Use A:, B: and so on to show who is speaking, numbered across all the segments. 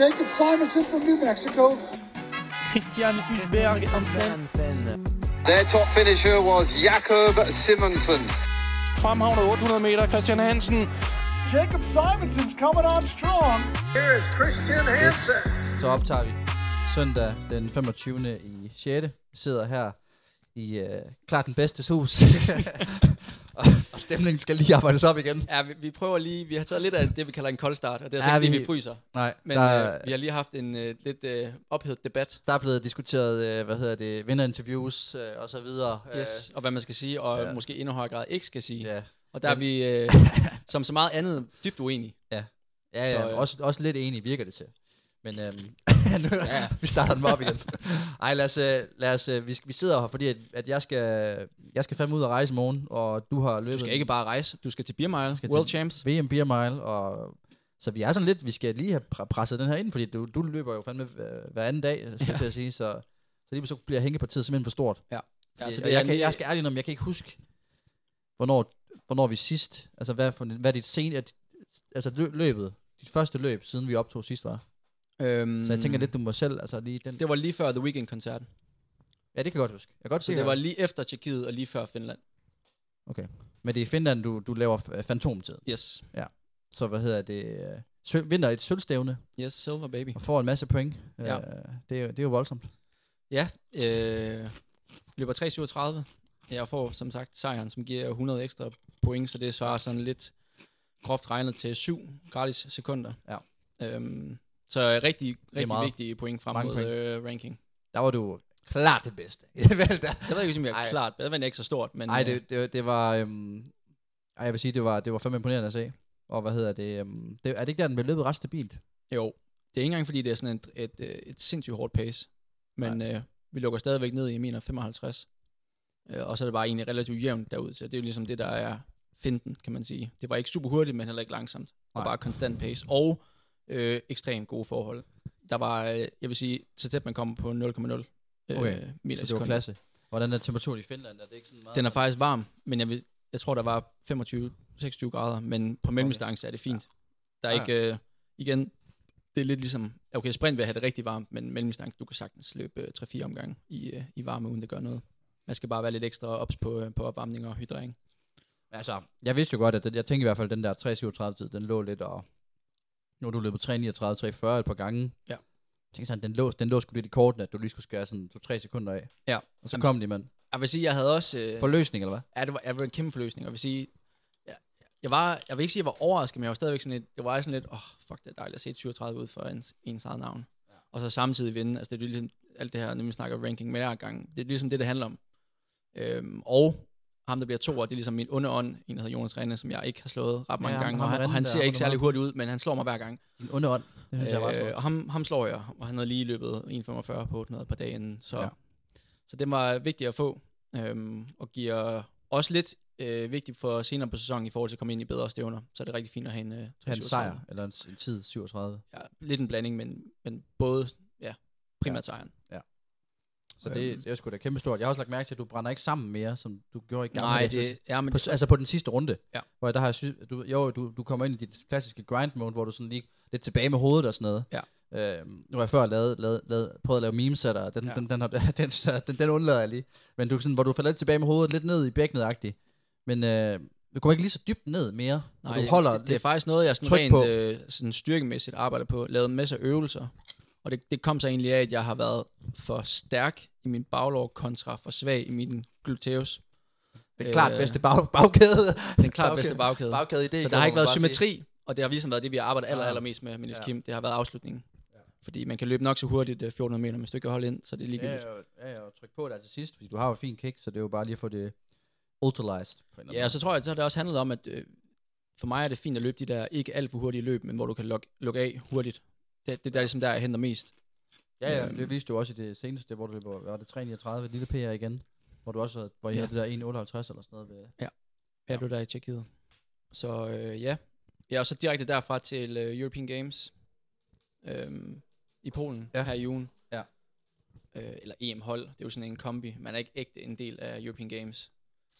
A: Jacob Simonson from New Mexico.
B: Christian Hulberg Hansen.
C: Their top finisher was Jakob Simonsen.
B: Fremhavner 800 meter, Christian Hansen.
A: Jacob Simonson's coming on strong.
C: Here is Christian Hansen.
D: Så optager vi søndag den 25. i 6. sidder her i øh, klart den bedstes hus. og, og stemningen skal lige arbejdes op igen.
E: Ja, vi, vi prøver lige, vi har taget lidt af det, vi kalder en kold start, og det er
D: Ja,
E: altså ja, ikke,
D: vi-
E: vi... vi fryser.
D: Nej,
E: Men
D: der,
E: der...
D: er-
E: øh, vi har lige haft en øh, lidt øh, ophedet debat,
D: der er blevet diskuteret, øh, hvad hedder det, vinderinterviews øh, og så videre.
E: yes. og hvad man skal sige, og
D: ja.
E: ja. måske endnu højere grad ikke skal sige.
D: Øh,
E: Ja.
D: ja.
E: Og der er vi, øh, som så meget andet, dybt uenige.
D: Ja, ja,
E: Så,
D: så,
E: øh.
D: Også, også lidt enig virker det til. Men øhm, nu, ja. vi starter den op igen. Ej, lad os, øh, lad os øh, vi, skal- vi sidder her, fordi at, at jeg, skal, jeg skal fandme ud og rejse i morgen, og du har løbet
E: Du skal ikke bare rejse, du skal til Beer Mile,
D: Skal
E: skal
D: til-
E: World Champs.
D: VM Beer Mile, og så vi er sådan lidt, vi skal lige have pre- presset den her ind, fordi du, du løber jo fandme hver, hver anden dag, skulle jeg til at sige, så, så lige så bliver hængepartiet simpelthen for stort. Ja,
E: så
D: altså,
E: det
D: det,
E: er
D: jeg, kan,
E: lige-
D: jeg skal ærligt om, jeg kan ikke huske, hvornår, hvornår vi sidst, altså hvad, for, hvad er dit sen, er dit- altså lø- løbet, dit første løb, siden vi optog sidst var.
E: Øhm,
D: Så jeg tænker lidt, du må selv, altså lige den.
E: Det var lige før The Weekend-koncerten.
D: Ja, det kan jeg godt huske. Jeg kan godt
E: Så
D: se
E: det var lige efter Tjekkiet og lige før Finland.
D: Men det er i Finland, du, du laver f- fantomtid.
E: Yes.
D: Så hvad hedder det? øh, Sø, vinder et sølvstævne
E: Yes, Silver Baby.
D: og får en masse point.
E: Ja.
D: Øh, det, er, jo- det er jo voldsomt.
E: Ja, øh, løber 3.37. Jeg får som sagt sejren, som giver 100 ekstra point, så det svarer sådan lidt groft regnet til 7 gratis sekunder.
D: Ja.
E: Øhm, så øh, rigtig, rigtig
D: meget.
E: vigtige point frem
D: Mange
E: mod
D: point.
E: Øh, ranking.
D: Der var du klart det bedste. Vel da.
E: Jeg ved ikke, om jeg
D: Ej.
E: er klart bedre, men ikke så stort. Men,
D: Nej,
E: øh,
D: det, det, det var... Øhm, ej, jeg vil sige, det var, det var fandme imponerende at se. Og hvad hedder det, øhm, det? Er det ikke der, den blev løbet ret stabilt?
E: Jo, det er ikke engang, fordi det er sådan et, et, øh, et sindssygt hårdt pace. Men øh, vi lukker stadigvæk ned i, jeg mener, 55. Øh, og så er det bare egentlig relativt jævnt derud, så det er jo ligesom det, der er finten, kan man sige. Det var ikke super hurtigt, men heller ikke langsomt. Og
D: Nej.
E: bare konstant pace. Og øh, ekstremt gode forhold. Der var, øh, jeg vil sige, så tæt man kommer på 0,0 øh,
D: Okay,
E: meter i
D: Så det var
E: sekundet.
D: klasse. Hvordan er temperaturen i Finland? Er det ikke sådan meget?
E: Den er faktisk varm, men jeg, vil, jeg tror, der var 25-26 grader, men på mellemdistance er det fint. Der er
D: Ja.
E: ikke, øh, igen, det er lidt ligesom, okay, sprint vil have det rigtig varmt, men mellemdistance, du kan sagtens løbe øh, 3-4 omgange i, øh, i varme, uden det gør noget. Man skal bare være lidt ekstra ops på, øh, på opvarmning og hydrering.
D: Altså, jeg vidste jo godt, at den, jeg tænkte i hvert fald, at den der 3.37-tid, den lå lidt og... Nu har du løbet 3.39, 3.40 et par gange.
E: Ja.
D: Jeg tænkte sådan, den lå, den lå sgu lidt i korten, at du lige skulle skære sådan 2-3 sekunder af.
E: Ja.
D: Og så
E: Jamen,
D: kom de, mand.
E: Jeg vil sige, jeg havde også... Øh,
D: Forløsning, eller hvad?
E: Ja, det var, jeg var en kæmpe forløsning. Og jeg vil sige, jeg, jeg, var, jeg vil ikke sige, at jeg var overrasket, men jeg var stadigvæk sådan lidt, jeg var sådan lidt, åh, oh, fuck, det er dejligt at se 37 ud for ens, ens eget navn. Ja. Og så samtidig vinde, altså det er jo ligesom alt det her, når vi snakker ranking med hver gang, det er ligesom det, det handler om. Øhm, og ham, der bliver to, det er ligesom min underånd, en, der hedder Jonas Rene, som jeg ikke har slået ret mange
D: Ja,
E: ja,
D: ham-
E: gange,
D: ham
E: og han,
D: Rene
E: og han
D: der,
E: ser
D: ham
E: ikke
D: du
E: særlig
D: har.
E: hurtigt ud, men han slår mig hver gang.
D: En underånd. Det synes jeg var
E: Øh, og ham, ham slår jeg, og han havde lige løbet 1,45 på 800 på dagen, så,
D: Ja.
E: ja. så det var vigtigt at få, øhm, og giver også lidt øh, vigtigt for senere på sæsonen i forhold til at komme ind i bedre stævner, så er det rigtig fint at have en, øh,
D: Han
E: 37.
D: sejr, eller en, en tid 37.
E: Ja, lidt en blanding, men, men både ja, primært sejren.
D: Så det,
E: Øhm.
D: det er sgu da kæmpe stort. Jeg har også lagt mærke til, at du brænder ikke sammen mere, som du gjorde i gamle
E: Nej,
D: dage,
E: det,
D: synes
E: ja,
D: jeg.
E: men
D: på, altså på den sidste runde,
E: Ja.
D: hvor der har jeg sy- du, jo, du, du kommer ind i dit klassiske grind mode, hvor du sådan lige lidt tilbage med hovedet og sådan noget.
E: Ja.
D: Øhm, nu har jeg før lavet, lavet, lavet, prøvet at lave memes af dig, og den, ja.
E: Ja.
D: den, den, har, den, så den, den undlader jeg lige. Men du, er sådan, hvor du falder lidt tilbage med hovedet, lidt ned i bækkenet-agtigt. Men øh, du kommer ikke lige så dybt ned mere, Nej, du holder
E: det, det er
D: lidt,
E: faktisk noget, jeg sådan
D: tryk
E: rent
D: på.
E: Øh, sådan styrkemæssigt arbejder på. Lavet en masse øvelser. Og det, det kom så egentlig af, at jeg har været for stærk i min baglov kontra for svag i min gluteus.
D: det, klart
E: øh,
D: bedste bag, bagkæde.
E: Den klart
D: bagkæde-
E: bedste bagkæde.
D: bagkæde idé,
E: så der har ikke været symmetri, og det har ligesom været det, vi har arbejdet aller,
D: Ja.
E: allermest med med Niels
D: Ja.
E: Kim. Det har været afslutningen. Fordi man kan løbe nok så hurtigt øh, 1400 meter, men stykke hold ind, så det er
D: Ja,
E: ligegyldigt.
D: ja, ja, ja, og tryk på der til sidst, fordi du har jo et fint kick, så det er jo bare lige at få det utilized. På en eller anden
E: Ja, og så tror jeg, så har det også handlet om, at øh, for mig er det fint at løbe de der ikke alt for hurtige løb, men hvor du kan lukke, lukke af hurtigt. Det, det er der ligesom der, jeg henter mest.
D: Ja, ja,
E: Øhm.
D: det viste du også i det seneste, hvor du løber, var det 339, lille PR igen, hvor du også havde, hvor I
E: Ja.
D: havde det der 158 eller sådan noget. Ved.
E: Ja, du er der i Tjekkiet. Så øh, ja. Ja, og så direkte derfra til øh, European Games øhm, i Polen
D: Ja.
E: ja. her i juni.
D: Ja.
E: Øh, eller EM-hold. Det er jo sådan en kombi. Man er ikke ægte en del af European Games.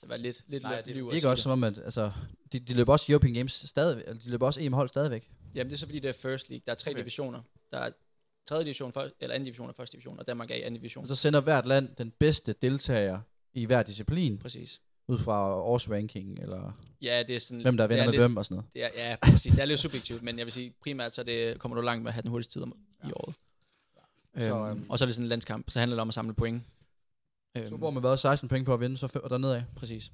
E: Så vær lidt, lidt
D: Nej,
E: løb-
D: det
E: lyver at
D: virker
E: sige
D: også som om, at altså, de, de løber også European Games stadigvæk, eller de løber også EM-hold stadigvæk.
E: Jamen, det er så fordi, det er First League. Der er tre
D: Okay.
E: okay. divisioner. der er 3. division, først, eller 2. division og 1. division, og Danmark er i 2. division.
D: Og så sender hvert land den bedste deltager i hver disciplin,
E: Præcis.
D: ud fra årsranking, eller
E: Ja, det er sådan...
D: hvem der
E: det
D: vinder
E: er
D: med
E: lidt,
D: hvem og sådan noget.
E: Det er, ja, præcis. Det er lidt subjektivt, men jeg vil sige, primært så er det, kommer du langt med at have den hurtigste tid om, i året.
D: Så,
E: Så,
D: øhm,
E: øhm, og så er det sådan en landskamp, så handler det om at samle point. Øhm,
D: Så får man været 16 penge på at vinde, så fem- og dernede af.
E: Præcis.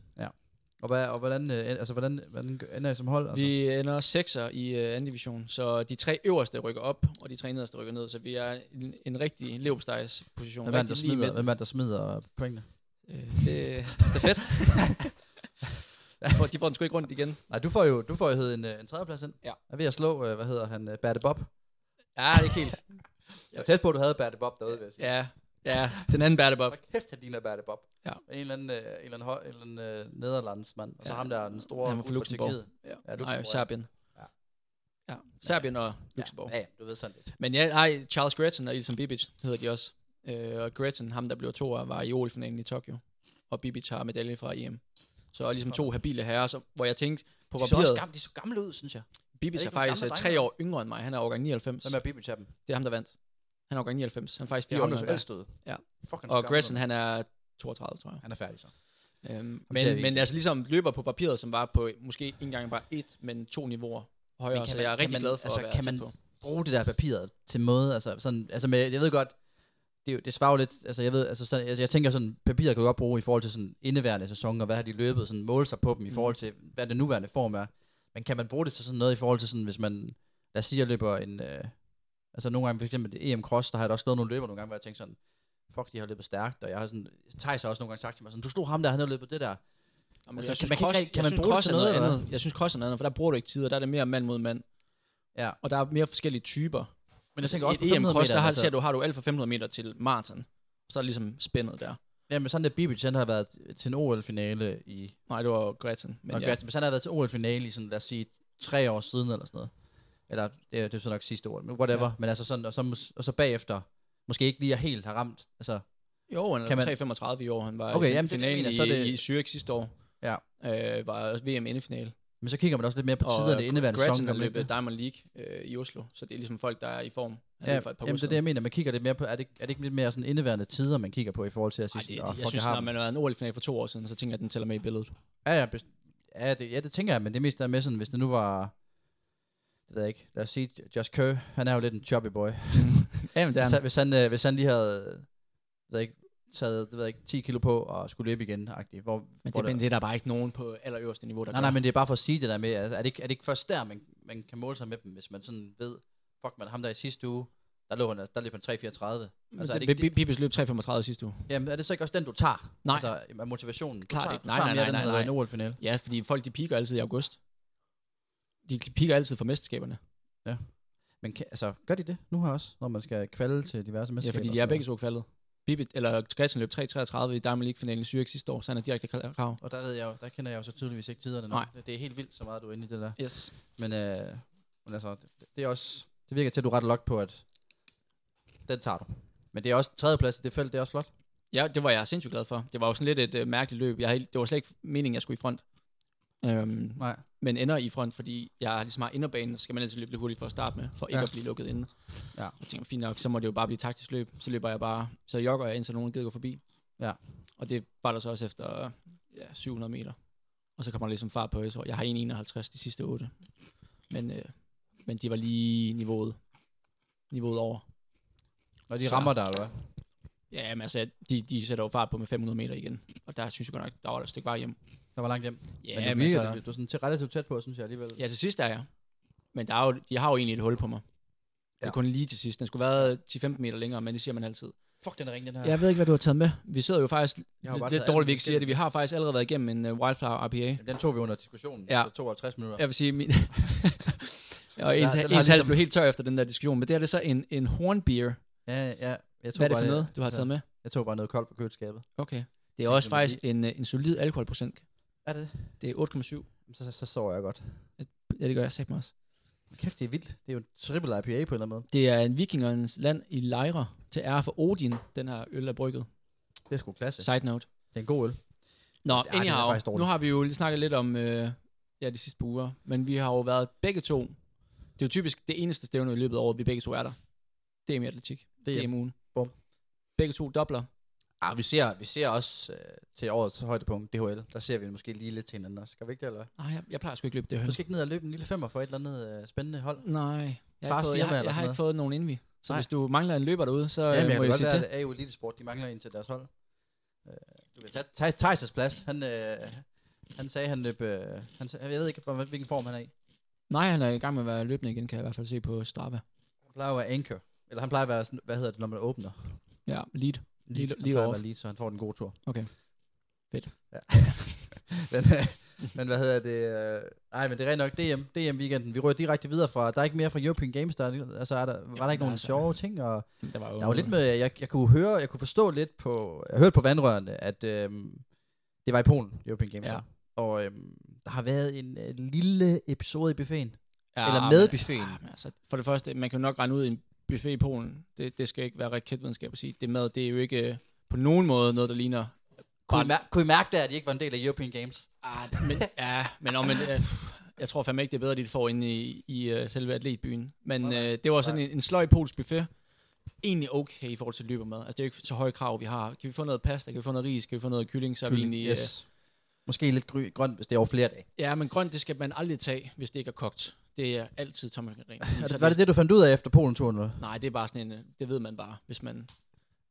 D: Og, hvad, og hvordan, øh, altså, hvordan, hvordan ender I som hold? Altså?
E: Vi ender sekser i øh, anden division, så de tre øverste rykker op, og de tre nederste rykker ned, så vi er en, en rigtig leverpostejs position.
D: Hvem er det, der
E: rigtig lige
D: smider,
E: midten.
D: hvem er det, der smider pointene?
E: Øh, det er fedt. de, får, de får den sgu ikke rundt igen.
D: Nej, du får jo du får jo hed en, øh, en tredjeplads ind.
E: Ja.
D: Er ved at slå, øh, hvad hedder han, øh, Berte Bob.
E: Ja, det er ikke helt.
D: Jeg tæt på, at du havde Berte Bob derude, vil jeg sige.
E: Ja, ja den anden bærer det bare.
D: Hvor kæft, han ligner Berte Bob.
E: Ja.
D: En eller anden, øh, en eller anden, høj- en eller anden øh, nederlandsmand. Og så
E: Ja.
D: ham der, den store
E: Han var fra
D: ud fra
E: Luxembourg.
D: Tjekkiet.
E: Ja,
D: Luxembourg, ja.
E: Nej, Serbien.
D: Ja.
E: Ja. ja. Serbien og Luxembourg.
D: Ja, ja, du ved sådan lidt.
E: Men ja, nej, Charles Gretchen og Ilsen Bibic hedder de også. Øh, og Gretchen, ham der blev toer, var i OL-finalen i Tokyo. Og Bibic har medalje fra EM. Så er ligesom to habile herrer, så, hvor jeg tænkte på
D: De så, også
E: papiret,
D: gamle, de så gamle ud, synes jeg.
E: Bibic
D: er
E: er,
D: ikke nogle
E: faktisk
D: gamle
E: øh, tre
D: drenge?
E: år yngre end mig. Han er årgang 99.
D: Hvem er Bibi Chappen?
E: Det er ham, der vandt. Han er årgang 99. Han er faktisk
D: Det er
E: fire år
D: ham,
E: yngre
D: der så
E: end mig.
D: ældst ud.
E: Ja.
D: Fuck, han er
E: Og
D: så
E: Gretchen,
D: gammel
E: han er 32, tror jeg.
D: ud. han er færdig så.
E: Øhm,
D: ser vi
E: men, men
D: ikke.
E: altså ligesom løber på papiret, som var på måske ikke engang bare et, men to niveauer højere,
D: Men kan
E: så
D: man-
E: jeg er
D: kan
E: rigtig
D: man-
E: glad for
D: altså,
E: at være kan
D: kan man-
E: man, på.
D: bruge det der papiret til måde, altså sådan, altså med, jeg ved godt, det, er jo- det svarer jo lidt, altså jeg ved, altså, sådan, altså jeg tænker sådan, papiret kan du godt bruge i forhold til sådan indeværende sæson, og hvad har de løbet, sådan måle sig på dem i forhold til, hvad den nuværende form er. Men kan man bruge det til sådan noget i forhold til sådan, hvis man, lad os sige, jeg løber en, øh, altså nogle gange, for eksempel det EM Cross, der har jeg da også stået nogle løber nogle gange, hvor jeg tænkte sådan, fuck, de har løbet stærkt, og jeg har sådan, Thijs har også nogle gange sagt til mig sådan, du slog ham der, han har løbet det der.
E: Jamen,
D: altså,
E: jeg
D: kan
E: synes
D: man ikke
E: cross-
D: rigtig- kan
E: jeg
D: man
E: synes
D: bruge det
E: cross
D: til
E: er
D: noget eller
E: andet. Jeg synes cross er noget andet, for der bruger du ikke tid, og der er det mere mand mod mand.
D: Ja.
E: Og der er mere forskellige typer.
D: Men jeg tænker også på
E: Et EM
D: 500
E: cross,
D: meter.
E: der har,
D: altså.
E: ser du, har du alt fra 500 meter til maraton. Så er det ligesom spændet der.
D: Jamen sådan der Bibic, han har været til en OL-finale i
E: Nej, det var Gretchen. Men
D: Men
E: ja.
D: ja. hvis han havde været til OL-finale i sådan, lad os sige, tre år siden eller sådan noget. Eller det, er- det er så nok sidste år, men whatever. Ja. Men altså sådan, og så, mås- og så bagefter, måske ikke lige er helt har ramt. Altså,
E: Jo, han
D: Kan man-
E: er 3,35 i år. Han var
D: Okay,
E: i
D: jamen, det er det, jeg
E: finalen
D: mener,
E: i,
D: så er
E: i
D: det-
E: Zürich sidste år.
D: Ja.
E: Øh, var også VM-endefinale.
D: men så kigger man også lidt mere på tiderne i indeværende sæson.
E: Gretchen har
D: gør man ikke
E: øh, løbet
D: det?
E: Diamond League øh, i Oslo, så det er ligesom folk, der er i form. Han
D: Ja,
E: løb for et par
D: jamen
E: uger
D: det er det, jeg mener. Man kigger lidt mere på, er det, ikke- er det ikke lidt mere sådan indeværende tider, man kigger på i forhold til at sige,
E: siden. Ej,
D: sådan, "Åh,
E: det,
D: fuck,
E: jeg synes,
D: har
E: når
D: dem."
E: man har været en OL-final for to år siden, så tænker jeg, at den tæller med i billedet.
D: Ja, ja, best- ja, det, ja, det tænker jeg, men det er mest der med sådan, hvis det nu var, det ved jeg ikke, lad os sige, Josh Kerr, han er jo lidt en choppy boy.
E: Jamen, det er
D: Hvis han,
E: han.
D: hvis han, øh, hvis han lige havde øh, ved jeg ikke, taget det ved jeg ikke, 10 kilo på og skulle løbe igen, agtigt, hvor,
E: Men
D: hvor
E: det, men det er der bare ikke nogen på allerøverste niveau, der
D: Nej,
E: gør.
D: nej, men det er bare for at sige det der med, altså, er, det ikke, er det ikke først der, man, man kan måle sig med dem, hvis man sådan ved, fuck man, ham der i sidste uge, der, lå han, der løb han 3,34. Altså, er det ikke, det,
E: Bibis løb 3,35 sidste uge.
D: jamen, er det så ikke også den, du tager?
E: Nej.
D: Altså, er motivationen. Du
E: Klart
D: tager,
E: ikke.
D: Du
E: Nej,
D: tager
E: nej, nej,
D: mere den,
E: nej,
D: der har været i en
E: nej.
D: OL-finale.
E: Ja, fordi folk de piker altid i august. De piker altid for mesterskaberne.
D: Men kan, altså, gør de det nu her også, når man skal kvalde til diverse
E: Ja,
D: mesterskaber?
E: fordi de er begge to kvaldet. Bibit, eller Gretchen løb 3,33 i Diamond League-finalen i Zürich sidste år, så han er direkte kal- krav.
D: Og der ved jeg jo, der kender jeg jo så tydeligvis ikke tiderne nu.
E: Nej.
D: Det- Det er helt vildt, så meget du er inde i det der.
E: Yes.
D: Men, øh, men altså, det, det er også, det virker til, at du er ret lok på, at den tager du. Men det er også tredjeplads i det felt, det er også flot.
E: Ja, det var jeg sindssygt glad for. Det var jo sådan lidt et øh, mærkeligt løb. Jeg, havde- det var slet ikke meningen, jeg skulle i front. Øhm,
D: Nej.
E: men ender i front, fordi jeg ligesom har inderbanen, så skal man altid løbe lidt hurtigt for at starte med, for ikke
D: Ja.
E: ja. at blive lukket inde.
D: Ja.
E: Jeg tænker, fint nok, så må det jo bare blive taktisk løb. Så løber jeg bare, så jogger jeg ind, så nogen gider gå forbi.
D: Ja.
E: Og det var der så også efter ja, 700 meter. Og så kommer der ligesom fart på Øsår. Jeg har 1,51 de sidste 8. Men, øh, men de var lige niveauet, niveauet over.
D: Når de
E: Så-
D: rammer dig, eller hvad?
E: Ja, men altså, de, de sætter jo fart på med 500 meter igen. Og der synes jeg godt nok, der var der et stykke vej hjem.
D: Der var langt hjem.
E: Ja,
D: men det
E: men
D: virker,
E: altså-
D: det- du er sådan til relativt tæt på, synes jeg alligevel.
E: Ja, til sidst er jeg. Men der er jo, de har jo egentlig et hul på mig. Det
D: Ja.
E: er kun lige til sidst. Den skulle være 10-15 meter længere, men det siger man altid.
D: Fuck den ring, den her.
E: Jeg ved ikke, hvad du har taget med. Vi sidder jo faktisk
D: Jeg har jo bare
E: lidt,
D: taget
E: lidt
D: alt
E: dårligt, vi ikke siger
D: forskelligt.
E: det. Vi har faktisk allerede været igennem en uh, Wildflower RPA.
D: Jamen, den tog vi under diskussionen.
E: Ja.
D: Ja. 52 minutter. Ja.
E: Jeg vil sige, min... og ens,
D: den har
E: ens hals
D: ligesom-
E: blev helt tør efter den der diskussion. Men det her det er så en, en hornbeer.
D: ja, ja. Jeg tog
E: Hvad er det
D: bare
E: for noget, du har taget med?
D: Jeg tog bare noget koldt fra køleskabet.
E: Okay. Det er
D: Tænkte,
E: også
D: man
E: faktisk en, øh, en solid alkoholprocent.
D: Er det
E: Det er 8,7.
D: så, så, så sover jeg godt.
E: Ja, det gør jeg sagt mig også.
D: Kæft, det er vildt. Det er jo en triple IPA på en eller anden måde.
E: Det er en vikingernes land i Lejre til ære for Odin, den her øl er brygget.
D: Det er sgu klasse.
E: Side note.
D: Det er en god øl.
E: Nå,
D: den er faktisk
E: anyhow,
D: dårlig.
E: nu har vi jo lige snakket lidt om øh, ja, de sidste par uger, men vi har jo været begge to. Det er jo typisk det eneste stævne i løbet af året, vi begge to er der. DM i atletik.
D: DM.
E: DM ugen.
D: Bum.
E: Begge to dobler.
D: Ah, vi ser, vi ser også øh, til årets højdepunkt, DHL. Der ser vi måske lige lidt til hinanden også. Skal vi ikke det, eller hvad?
E: Nej, jeg, jeg plejer sgu ikke løbe det her.
D: Du skal ikke ned og løbe en lille femmer for et eller andet øh, spændende hold.
E: Nej. Jeg har,
D: Fars
E: ikke fået, jeg,
D: firma
E: har,
D: eller
E: jeg har
D: sådan
E: ikke fået nogen indvi. Så
D: Nej.
E: Nej. hvis du mangler en løber derude, så
D: Ja, men
E: ja,
D: jeg
E: må
D: kan
E: I
D: Øh, godt
E: se
D: være,
E: til.
D: at AU Elitesport, de mangler en til deres hold. Øh, du ved, Thaj- Thijs' plads, han, øh, han sagde, han løb... Øh, han, sa- jeg ved ikke, hvor- hvilken form han er i.
E: Nej, han er i gang med at være løbende igen, kan jeg i hvert fald se på Strava.
D: Han plejer at være anchor. Eller han plejer at være, sådan, hvad hedder det, når man åbner?
E: Ja, lead. Lige-
D: han
E: lige
D: plejer at
E: off.
D: være lead, så han får den gode tur.
E: Okay. Fedt.
D: Ja. men, øh, men hvad hedder det? Øh, nej, men det er rent nok DM, DM-weekenden. Vi rører direkte videre fra... Der er ikke mere fra European Games. Der, er- altså, er der, var der
E: der
D: ikke nogen
E: er så-
D: sjove ting? Og,
E: Der var jo,
D: Der var lidt med, jeg, jeg kunne høre, jeg kunne forstå lidt på, jeg hørte på vandrørene, at øhm, det var i Polen, European Games.
E: Ja.
D: Ja. Og øhm, der har været en øh, lille episode i buffeten.
E: ja,
D: eller med
E: men-
D: buffeten.
E: ah, men altså, for det første, man kan jo nok regne ud i en buffet i Polen. Det, det skal ikke være raketvidenskab at sige. Det mad, det er jo ikke øh, på nogen måde noget, der ligner...
D: Kunne I,
E: Bare-
D: mær- kunne I mærke der, at de ikke var en del af European Games?
E: Ah, men, ja, men, om, men øh, jeg tror fandme ikke, det er bedre, de får inde i, i uh, selve atletbyen. Men uh,
D: Nej,
E: det var sådan
D: nej.
E: en, en sløj polsk buffet. Egentlig okay i forhold til løbermad. Altså, det er jo ikke så høje krav, vi har. Kan vi få noget pasta? Kan vi få noget ris? Kan vi få noget kylling? Så er vi egentlig... øh,
D: yes. Måske lidt gry- grønt, hvis det er over flere dage.
E: Ja, men grønt, det skal man aldrig tage, hvis det ikke er kogt. Det er altid tommelkanin.
D: Er det, var det det, du fandt ud af efter Polen-turen? eller?
E: Nej, det er bare sådan en, øh, det ved man bare, hvis man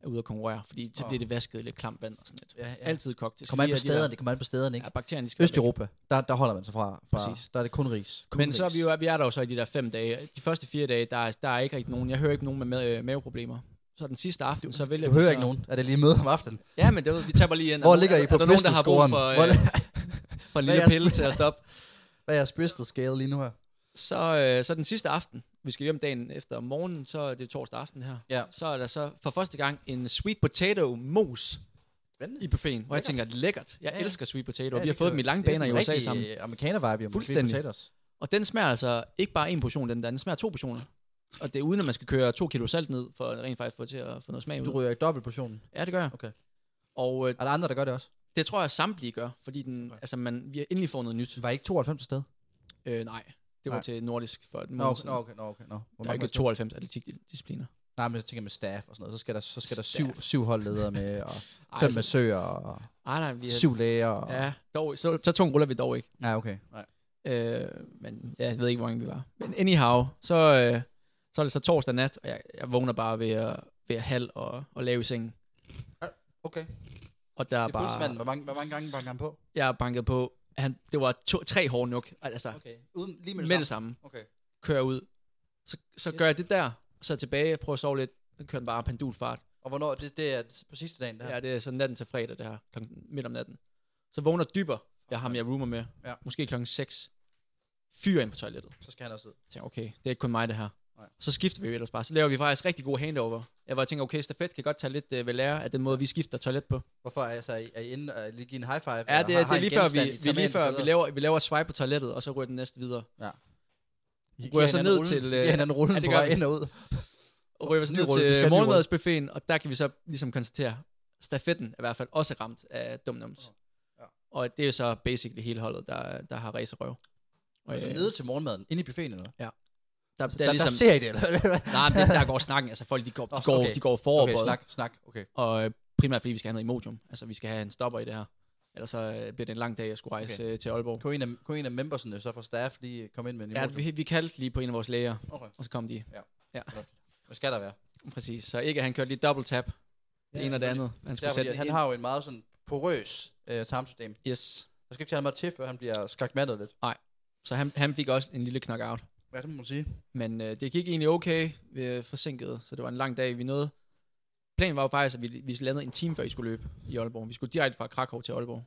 E: er ude at konkurrere, fordi så
D: Åh.
E: bliver det vasket i lidt klamt vand og sådan lidt.
D: Ja, ja.
E: Altid kogt. Det
D: Det kommer an
E: lige
D: på
E: have de der-
D: stederne, det kommer an på stederne, ikke?
E: Ja, bakterierne, de skal væk.
D: Østeuropa, der, der holder man sig fra. fra
E: Præcis.
D: Der er det kun ris. Kun
E: Men
D: ris.
E: så er vi jo vi er der jo så i de der fem dage. De første fire dage, der er, der er ikke rigtig nogen. Jeg hører ikke nogen med, ma- øh, maveproblemer. Så den sidste aften, så vælger
D: Du
E: vi
D: hører
E: så,
D: ikke nogen. Er det lige møde om aftenen?
E: Ja, men det ved, vi taber lige ind.
D: Hvor
E: Er der-
D: ligger I
E: er-
D: på
E: Er der nogen, der har brug
D: brystescoren?
E: for,
D: Hvor
E: øh, for en
D: Hvad
E: lille
D: er jeres-
E: pille til at stoppe?
D: Hvad er jeres bristol scale lige nu her?
E: Så, øh, så den sidste aften, vi skal hjem dagen efter om morgenen, så er det torsdag aften her.
D: Ja.
E: Så er der så for første gang en sweet potato mos
D: Spændende.
E: i buffeten, hvor jeg tænker, lækkert. Jeg
D: Ja,
E: ja,
D: ja.
E: elsker sweet potato.
D: Ja,
E: Ja, vi har
D: det
E: fået
D: kan-
E: dem i lange
D: det er
E: baner i
D: sådan
E: USA
D: en rigtig,
E: sammen.
D: øh, Amerikaner-vibe, jo.
E: Fuldstændig.
D: Potatoes.
E: Og den smager altså ikke bare en portion, den der. Den smager to portioner. Og det er uden, at man skal køre to kilo salt ned, for rent faktisk få til at få noget smag ud.
D: Du ryger i dobbelt portionen.
E: Ja, det gør jeg.
D: Okay.
E: Og øh,
D: Er der andre, der gør det også?
E: det tror jeg samtlige gør, fordi den, altså, man, vi har endelig fået noget nyt.
D: Var ikke 92 til stede?
E: Øh, nej, det var
D: Nej.
E: til Nordisk for et
D: Nå,
E: måned
D: okay,
E: siden.
D: nå, okay, nå, okay. Nå.
E: Der
D: Hvor
E: er
D: mange
E: ikke
D: var
E: 92 atletikdiscipliner.
D: det? Nej, men jeg tænker med staff og sådan noget. Så skal der, så skal der syv,
E: Staff.
D: syv holdledere med, og
E: Ej,
D: fem
E: altså-
D: massører, og
E: Ej, nej, vi er,
D: syv læger. Og...
E: Ja, dog, så, så tungt ruller vi dog ikke.
D: Nej, okay. Nej.
E: Øh, men ja, jeg ved ikke, hvor mange vi var. Men anyhow, så, øh, så er det så torsdag nat, og jeg, jeg vågner bare ved at, ved at halv og, og lave i sengen.
D: Okay.
E: Og der er
D: Det er pulsmanden.
E: bare,
D: Hvor mange, hvor mange gange banker han på?
E: jeg er banket på, han, det var to, tre hårde nok, altså
D: Okay. Uden, lige med det,
E: med det samme,
D: Okay.
E: kører ud. Så, så gør jeg det der, så er jeg tilbage, prøver at sove lidt, så kører den bare pendulfart.
D: Og hvornår? Det, det er på sidste dagen, det her.
E: Ja, det er så natten til fredag, det her, klokken midt om natten. Så vågner dyber, jeg har ham, jeg roomer med,
D: Ja.
E: måske klokken 6. Fyrer ind på toilettet.
D: Så skal han også ud.
E: Jeg tænker, okay, det er ikke kun mig, det her.
D: Nej.
E: Så skifter vi jo ellers bare. Så laver vi faktisk rigtig gode handover. Jeg var tænker, okay, stafet kan godt tage lidt øh, ved lære af den måde, vi skifter toilet på.
D: Hvorfor? Altså, er I- er I inde og lige give en high five?
E: Ja,
D: eller
E: det,
D: har-
E: er- det
D: har
E: er
D: I
E: lige
D: en
E: før,
D: genstand,
E: vi,
D: I
E: vi,
D: tager med
E: lige
D: ind
E: før
D: til
E: vi,
D: videre?
E: laver, vi laver swipe på toilettet, og så ryger den næste videre.
D: I giver
E: ryger så
D: hinanden
E: ned
D: rullen.
E: til,
D: I
E: øh,
D: giver hinanden
E: ja,
D: rullen
E: det
D: på
E: gør
D: vej
E: vi.
D: ind og ud.
E: Og ryger vi så
D: Ny
E: ned
D: rulle, vi skal have
E: til
D: en ny rulle.
E: morgenmadsbuffeten, og der kan vi så ligesom konstatere, stafetten er i hvert fald også ramt af dumnums.
D: Ja.
E: Og det er jo så basically hele holdet, der, der har racerøv. Og,
D: Altså,
E: øh,
D: nede til morgenmaden, inde i buffeten, eller? hvad?
E: der,
D: Der, der,
E: ligesom,
D: ser I det, eller?
E: nej, men det, der går snakken. Altså folk, de går, de
D: Nå,
E: går,
D: okay.
E: de går foroverbøjet.
D: Okay, snak, snak. Okay.
E: Og øh, primært fordi vi skal have noget Imodium. Altså vi skal have en stopper i det her. Ellers så øh, bliver det en lang dag, jeg skulle rejse
D: Okay.
E: okay. øh, til Aalborg.
D: Kunne en af, kunne en af membersene så fra staff lige komme ind med en
E: Ja,
D: emoji?
E: vi, vi kaldte lige på en af vores læger,
D: Okay,
E: og så kom de.
D: hvad skal der være?
E: Præcis. Så ikke, at han kørte lige double tap. Det
D: Ja,
E: ene og det
D: selvfølgelig.
E: andet. Han
D: Især
E: skulle sætte
D: fordi, at
E: den
D: han
E: ind.
D: har jo en meget sådan porøs øh, tarmsystem.
E: Yes.
D: Der skal ikke tage meget til, før han bliver skakmattet lidt.
E: Så han, han fik også en lille knockout.
D: Hvad det må man sige?
E: Men øh, det gik egentlig okay. Vi er forsinket, så det var en lang dag. Vi nåede. Planen var jo faktisk, at vi, vi landede en time før I skulle løbe i Aalborg. Vi skulle direkte fra Krakow til Aalborg,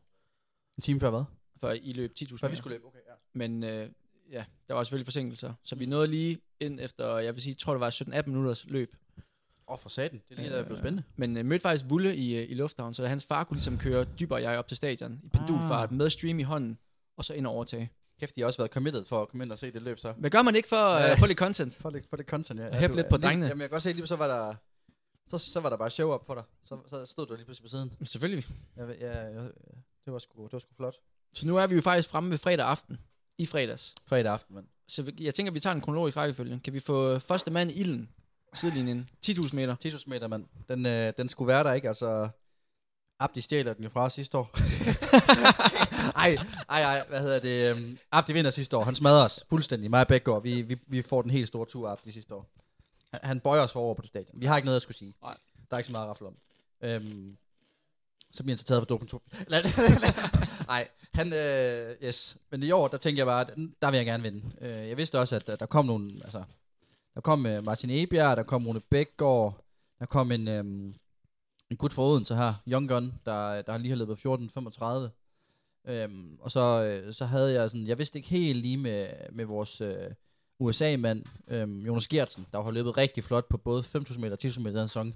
D: En time før hvad?
E: før I løb 10.000
D: Før vi
E: meter.
D: skulle løbe, okay. Ja.
E: Men øh, ja, der var selvfølgelig forsinkelser. Så vi nåede lige ind efter, jeg vil sige, tror det var 17-18 minutters løb.
D: Åh, for satan. Det er lige, der blev spændende.
E: Men øh, mødte faktisk Vulle i, øh, i lufthavnen, så hans far kunne ligesom køre dybere jeg op til stadion i pendulfart
D: Ah.
E: med stream i hånden, og så ind og overtage.
D: Kæft, de har også været committed for at komme ind og se det løb så.
E: Hvad gør man ikke for at
D: Ja.
E: øh, få lidt content?
D: For det, for det content, ja.
E: Og hæppe
D: du-
E: lidt på
D: lige-
E: drengene.
D: Jamen, jeg kan godt se, lige så var der... Så, så var der bare show up for dig. Så, så stod du lige pludselig på siden.
E: Selvfølgelig.
D: Jeg, ved- ja, jeg, det var sgu, det var sgu flot.
E: Så nu er vi jo faktisk fremme ved fredag aften. I fredags.
D: Fredag aften, mand.
E: Så vi- jeg tænker, at vi tager en kronologisk rækkefølge. Kan vi få øh, første mand i ilden? sidelinjen. 10.000 meter.
D: 10.000 meter, mand. Den, øh, den skulle være der, ikke? Altså, Abdi stjæler den jo fra sidste år. ej, ej, ej, hvad hedder det? øhm, Abdi vinder sidste år. Han smadrer os fuldstændig. Mig og Bækgaard, vi, vi, vi får den helt store tur af Abdi sidste år. Han, han bøjer os forover på det stadion. Vi har ikke noget at skulle sige.
E: Nej.
D: Der er ikke så meget at rafle om. Øhm, så bliver han så taget for dopingtur. Lad- lad- lad- Nej, han, øh, yes. Men i år, der tænker jeg bare, at den- der vil jeg gerne vinde. Øh, jeg vidste også, at der, der kom nogle, altså, der kom øh, Martin Ebjerg, der kom Rune Bækgaard, der kom en, øh, en gut fra Odense her, Young Gun, der, der lige har løbet 14.35. Øhm, og så, øh, så havde jeg sådan, jeg vidste ikke helt lige med, med vores øh, USA-mand, øh, Jonas Gertsen, der jo har løbet rigtig flot på både 5.000 meter og 10.000 meter i den her sæson.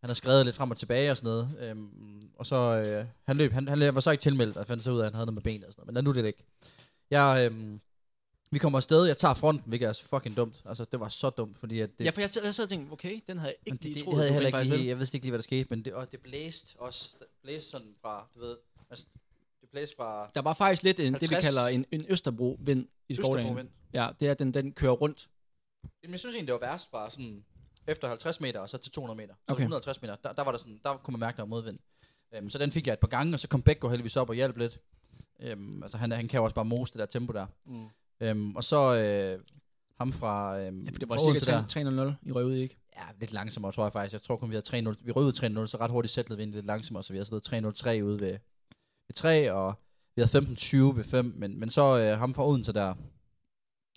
D: Han har skrevet lidt frem og tilbage og sådan noget. Øhm, og så, øh, han løb, han, han var så ikke tilmeldt, og fandt så ud af, at han havde noget med benet og sådan noget. Men lad nu det ikke. Jeg, øhm, vi kommer afsted, jeg tager fronten, hvilket er så fucking dumt. Altså, det var så dumt, fordi at det,
E: Ja, for jeg sad, jeg sad og tænkte, okay, den havde jeg
D: men
E: ikke
D: det,
E: lige
D: det,
E: troet.
D: det
E: du rent
D: havde jeg heller ikke
E: faktisk ville.
D: lige, jeg vidste ikke lige, hvad der skete, men det, og det blæste også, det blæste sådan fra, du ved, altså, det blæste fra
E: Der var faktisk lidt en, det, vi
D: 50.
E: kalder en, en Østerbro-vind i
D: Østerbrovind.
E: skovdagen. Ja, det er, at den, den kører rundt.
D: Jamen, jeg synes egentlig, det var værst fra sådan, efter 50 meter, og så til 200 meter. Så
E: Okay.
D: 150 meter, der, der, var der sådan, der kunne man mærke, der var modvind. Øhm, så den fik jeg et par gange, og så kom Bækko heldigvis op og hjalp lidt. Øhm, altså, han, han kan jo også bare mose det der tempo der.
E: Mm.
D: Øhm, og så øh, ham fra, øhm,
E: Ja, for det var
D: fra Odense
E: cirka 3-0, I røg ud, i, ikke?
D: Ja, lidt langsommere, tror jeg faktisk. Jeg tror kun, vi havde 3-0. Vi rød ud 3-0, så ret hurtigt sættede vi ind lidt langsommere, så vi havde stået 3-0-3 ude ved, ved 3, og vi havde 15-20 ved 5, men, men så øh, ham fra Odense der,